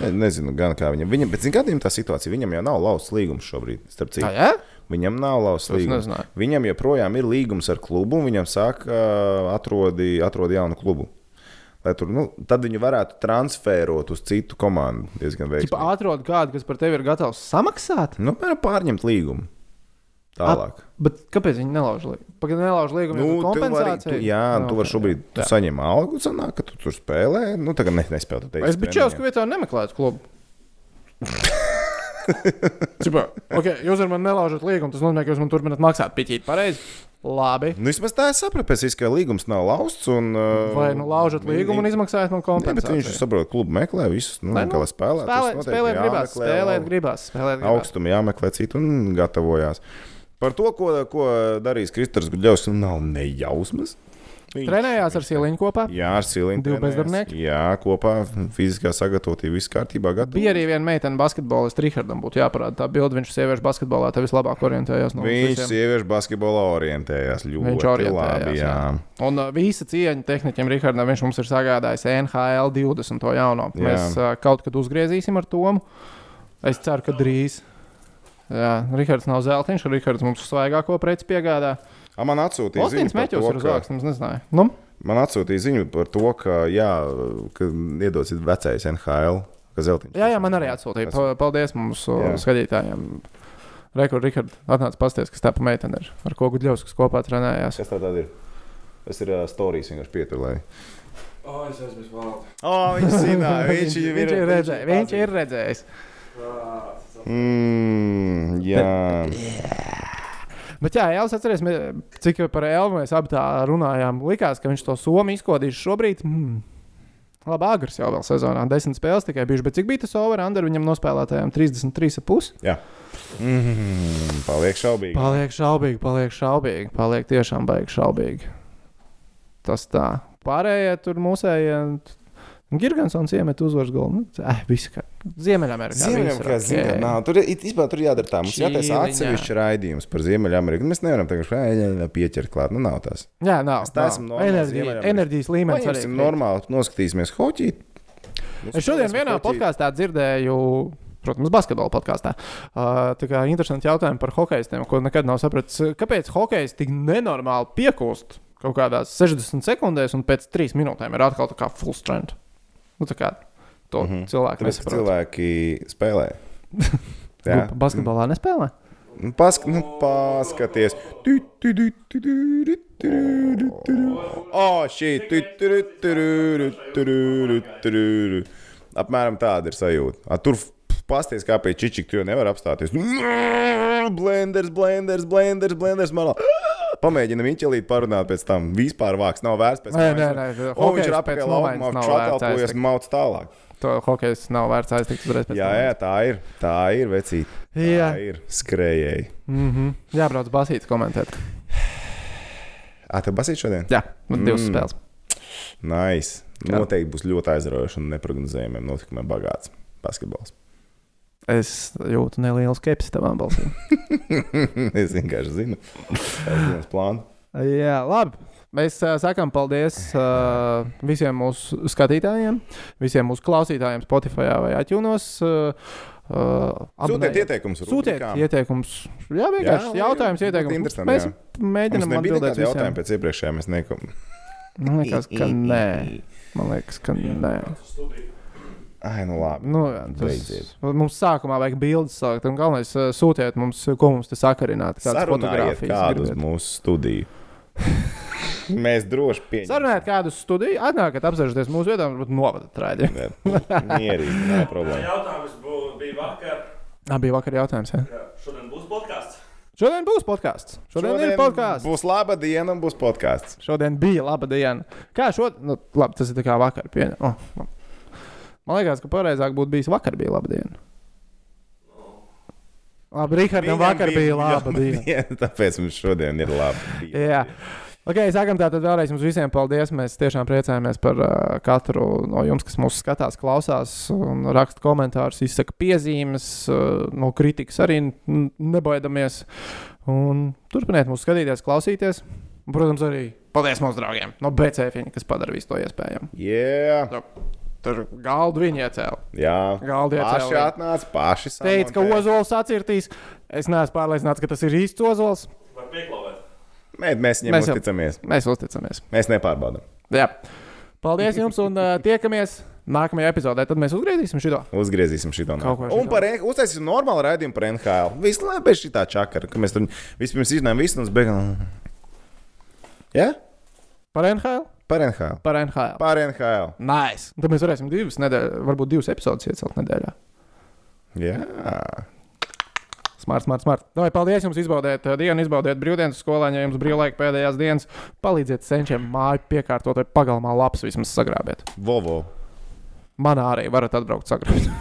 Speaker 2: Ne- Nezinu, gan kā viņam. viņam bet, zināmā mērā, tā situācija. Viņam jau nav lausts līgums šobrīd. Starp citu,
Speaker 1: Tā, Ah, jā?
Speaker 2: Viņam nav lausa
Speaker 1: Es
Speaker 2: līguma.
Speaker 1: nezināju.
Speaker 2: Viņam joprojām ir līgums ar klubu, un viņam saka, ā, atrodi, atrodi jaunu klubu. Lai Tur, nu, tad viņu varētu transferot uz citu komandu. Diezgan
Speaker 1: Tipā
Speaker 2: veiksmīgi.
Speaker 1: Atrod kādu, kas par tevi ir gatavs samaksāt.
Speaker 2: Nu, piemēram, pārņemt līgumu. Tālāk.
Speaker 1: Bet kāpēc viņi nelauž līgumu? Pagaidām, nelauž līgumu.
Speaker 2: Nu,
Speaker 1: ir
Speaker 2: tu vari,
Speaker 1: kompensācija.
Speaker 2: tu, jā, nu, tu vari šobrīd tu saņem algu, sanāk, ka tu tur spēlē. Nu, tagad ne, nespēlē. tu teiksi
Speaker 1: Es biju
Speaker 2: treniņā.
Speaker 1: Čelsku vietā un nemeklētu klubu. Cipā, ok, jūs ar mani nelaužat līgumu, tas nozīmē, ka jūs man turpināt maksāt piķīt. Pareizi. Labi.
Speaker 2: Nu, vismaz tā es sapratu, es izskatījos, ka līgums nav lausts. Un, ā,
Speaker 1: Vai nu laužat līgumu un izmaksājat man
Speaker 2: Nē, bet viņš
Speaker 1: kompensāciju?
Speaker 2: saprot, klubu meklē visus, nu,
Speaker 1: Lai,
Speaker 2: kā
Speaker 1: nu,
Speaker 2: lai spēlē.
Speaker 1: Spēlēt, spēlēt gribās, spēlēt gribās, spēlēt gribās.
Speaker 2: augstumu jāmeklē citur un gatavojās. Par to, ko, ko darīs Kristers Gudļovs, nu, nav nejausmas. Viņš-
Speaker 1: Trenējās ar sieliņu kopā.
Speaker 2: Jā, ar silīnu.
Speaker 1: Divi bezdarbnieki?
Speaker 2: Jā, kopā fiziskā sagatavotība viss kārtībā. Gatavo.
Speaker 1: Bija arī viena meitene, basketbolists, Rīgardam būtu jāparāda tā bilde. Viņš sieviešu basketbolā tā
Speaker 2: Mm.
Speaker 1: vislabāk orientējās. No mums
Speaker 2: Viņš
Speaker 1: Nu, visiem.
Speaker 2: sieviešu basketbolā orientējās ļoti
Speaker 1: Viņš orientējās,
Speaker 2: labi.
Speaker 1: jā.
Speaker 2: Jā.
Speaker 1: Un uh, visa cieņa tehnikam, Rīgardam, viņš mums ir sagādājis NHL 20. jauno.
Speaker 2: Jā.
Speaker 1: Jā. Mēs uh, kaut kad uzgriezīsim ar to. Es ceru, ka drīz. Jā, Rīgards nav zeltains, Rīgards mums svaigāko preci piegādā.
Speaker 2: A, man atsūtīja
Speaker 1: Ostins
Speaker 2: ziņu par
Speaker 1: Meķos
Speaker 2: to,
Speaker 1: ir
Speaker 2: ka-
Speaker 1: uzvārds, nezināju. Nu,
Speaker 2: Man atsūtīja ziņu par to, ka, jā, ka iedosit vecais NHL. ka Zeltiņš-
Speaker 1: jā, jā, man arī atsūtīja. Pa- Paldies mūsu
Speaker 2: Jā.
Speaker 1: jā. skatītājiem. Rekords, Rikārds, atnāca pasties, kas tā pa meitene ir. Ar ko Gudļovs, kas kopā trenējās.
Speaker 2: Kas tā tad ir? Tas ir uh, stāstījis vienkārši pieturlēji.
Speaker 3: O, es aizmirsu vārdu.
Speaker 2: Oh, viņš zināja,
Speaker 1: viņš, viņš ir redzējis. Viņš ir redzējis.
Speaker 2: Mm, jā,
Speaker 1: Bet, jā, Jānis, atcerieties, mē- cik par Elmu mēs abi tā runājām. Likās, ka viņš to somu izkodīs šobrīd. Mm. Labi, agrs jau vēl sezonā. Desmit spēles tikai bijušas, bet cik bija tas over-under viņam nospēlētājiem? 33,5.
Speaker 2: jā. Mm, paliek šaubīgi.
Speaker 1: Paliek šaubīgi, paliek šaubīgi, paliek tiešām baigi šaubīgi. tas tā. Pārējie tur mūsējie. Girgansons iemet uzvaras golfu. Nu, eh, viss kā Ziemeļamerikā. viss ir
Speaker 2: Ziemeļamerikā
Speaker 1: ok.
Speaker 2: zina, ka nav. Tur ir īstenībā tur jādara tā. Mums jātaisa
Speaker 1: Čīliņā.
Speaker 2: atsevišķi raidījums par Ziemeļameriku. Mēs nevaram tagad šai pieķert klāt. Nu, nav tās.
Speaker 1: Jā, nav.
Speaker 2: tā esmu
Speaker 1: nav.
Speaker 2: normāls
Speaker 1: Enerģija-
Speaker 2: Ziemeļamerikas.
Speaker 1: Enerģijas līmenis arī.
Speaker 2: Paņemsim
Speaker 1: krīt.
Speaker 2: normāli, noskatīsimies hoķi.
Speaker 1: Es šodien vienā podkāstā dzirdēju, protams, basketbola podkāstā. Uh, tā kā interesanti jautājumi par hokeistiem, ko nekad nav sapratis. Kāpēc hokejs tik nenormāli piekūst kaut kādās 60 sekundēs, un pēc 3 minūtēm ir atkal tā kā full strength? Nu, tā kā to mm -hmm. cilvēku
Speaker 2: Tāpēc, ka
Speaker 1: nesaprot.
Speaker 2: cilvēki spēlē.
Speaker 1: Nu, pa- Basketbolā nespēlē.
Speaker 2: Nu, Pask, nu, paskaties, tu, tu, tu, tu, tu, tu, tu, tu, tu, tu. O, šī, tu, tu, tu, tu, tu, tu, tu, tu, tu. Apmēram tāda ir sajūta. A, tur pasties, kā pie čičika, tu jau nevar apstāties. Blenders, blenders, blenders, blenders, malā. Pamēģinam īņķelīt, parunāt pēc tam. Vispār vāks nav vērts pēc
Speaker 1: Nē,
Speaker 2: tam.
Speaker 1: nē, nē,
Speaker 2: O,
Speaker 1: hokejs
Speaker 2: viņš ir
Speaker 1: pēc
Speaker 2: apakaļ
Speaker 1: nomaiņas
Speaker 2: laukumā,
Speaker 1: nav vērts
Speaker 2: čakalpojies
Speaker 1: aiztikt.
Speaker 2: un mauc tālāk.
Speaker 1: To hokejs nav vērts aiztikt uzreiz pēc
Speaker 2: Jā, jā, tā ir, tā ir, vecīt. Tā
Speaker 1: Jā.
Speaker 2: ir skrējēji.
Speaker 1: Jā, brauc basīts komentēt.
Speaker 2: Ā, tev basīt šodien?
Speaker 1: Jā, mm. divas spēles.
Speaker 2: Nice. Noteikti būs ļoti aizraujoši un neparedzējumiem notikumiem bagāts basketbols.
Speaker 1: Es jūtu nelielu skepsi tavām balsīm.
Speaker 2: es vienkārši zinu, kāds ir mans plāns.
Speaker 1: Jā, labi. Mēs uh, sakām paldies uh, visiem mūsu skatītājiem, visiem mūsu klausītājiem, Spotify vai Atjūnos. Uh, uh,
Speaker 2: Sūtiet
Speaker 1: abonējiet.
Speaker 2: ieteikumus.
Speaker 1: Sūtiet ieteikumus. Jā, vienkārši jā,
Speaker 2: Jā,
Speaker 1: jautājums,
Speaker 2: būtu
Speaker 1: ieteikums.
Speaker 2: interesanti,
Speaker 1: Mēs
Speaker 2: jā.
Speaker 1: mēģinām
Speaker 2: Mēģinām atbildēt
Speaker 1: atbildēt
Speaker 2: uz jautājumu
Speaker 1: jautājumiem.
Speaker 2: pēc iepriekšējā. Mēs neko.
Speaker 1: Man liekas, ka nē. Man liekas, ka nē.
Speaker 2: Ai, nu labi.
Speaker 1: Nu, jā, tas,
Speaker 2: Beidziet.
Speaker 1: mums sākumā vajag bildes sākt. Un galvenais, uh, sūtiet mums, ko mums te sakarināt. Kādas
Speaker 2: Sarunājiet
Speaker 1: fotogrāfijas
Speaker 2: kādu uz
Speaker 1: gribat.
Speaker 2: mūsu studiju. mēs droši pieņemsim.
Speaker 1: Sarunājiet kādu uz studiju, atnākat apsēžoties mūsu vietā, varbūt novadat rādi.
Speaker 2: Mierīgi, nav problēma.
Speaker 3: Jautājums bū- bija vakar.
Speaker 1: Tā bija vakar jautājums. Jā.
Speaker 3: Jā, Šodien būs podkāsts.
Speaker 1: Šodien būs podkāsts. Šodien, Šodien ir podkāsts.
Speaker 2: Būs laba diena un būs podkāsts.
Speaker 1: Šodien bija laba diena. Kā šodien? Nu, labi, tas ir tā kā vakar. Pieņa... Oh. Man liekas, ka pareizāk būtu bijis vakar bija laba diena. Labi, Rīgardam,
Speaker 2: Viņam
Speaker 1: vakar bija laba diena.
Speaker 2: Tāpēc mums šodien ir laba diena.
Speaker 1: Jā. Ok, sākam tātad vēlreiz jums visiem paldies. Mēs tiešām priecājamies par uh, katru no jums, kas mūsu skatās, klausās, un raksta komentārus, izsaka piezīmes, uh, no kritikas arī n- nebaidamies. Un turpiniet mūs skatīties, klausīties. Un, protams, arī paldies mūsu draugiem no BCFiņa, kas padara visu to iespējamu.
Speaker 2: Yeah.
Speaker 1: Tur galdu viņi iecēla.
Speaker 2: Jā,
Speaker 1: Galdi
Speaker 2: paši
Speaker 1: atcēlīja.
Speaker 2: atnāca, paši
Speaker 1: Teica, ka
Speaker 2: samontēja.
Speaker 1: ozols atcirtīs. Es neesmu pārliecināts, ka tas ir īsts ozols.
Speaker 3: Var pieklauvēt.
Speaker 2: Mē, mēs viņam
Speaker 1: Mēs
Speaker 2: mēs
Speaker 1: jau-
Speaker 2: uzticamies.
Speaker 1: Mēs uzticamies.
Speaker 2: Mēs nepārbaudām.
Speaker 1: Jā. Paldies jums un uh, tiekamies nākamajā epizodē. Tad mēs uzgriezīsim šo.
Speaker 2: Uzgriezīsim šo
Speaker 1: Kaut ko
Speaker 2: Un
Speaker 1: šito.
Speaker 2: par, N- uztaisīsim normālu raidījumu par NHL. Viss labi bez šitā čakara, ka mēs tur vispirms izdarām visu un uz beigām. Jā?
Speaker 1: Par NHL?
Speaker 2: Par NHL.
Speaker 1: Par NHL.
Speaker 2: Par NHL.
Speaker 1: Nice. Tad mēs varēsim divas nedēļas, varbūt divas epizodes iecelt nedēļā.
Speaker 2: Jā.
Speaker 1: Smart, smart, smart. Davai, paldies jums, izbaudiet ā, dienu, izbaudiet brīvdienas skolā, ja jums brīvlaika pēdējās dienas. Palīdziet senčiem māju piekārtot vai pagalmā lapas vismaz sagrābēt.
Speaker 2: Vovo.
Speaker 1: Manā arī varat atbraukt sagrābēt.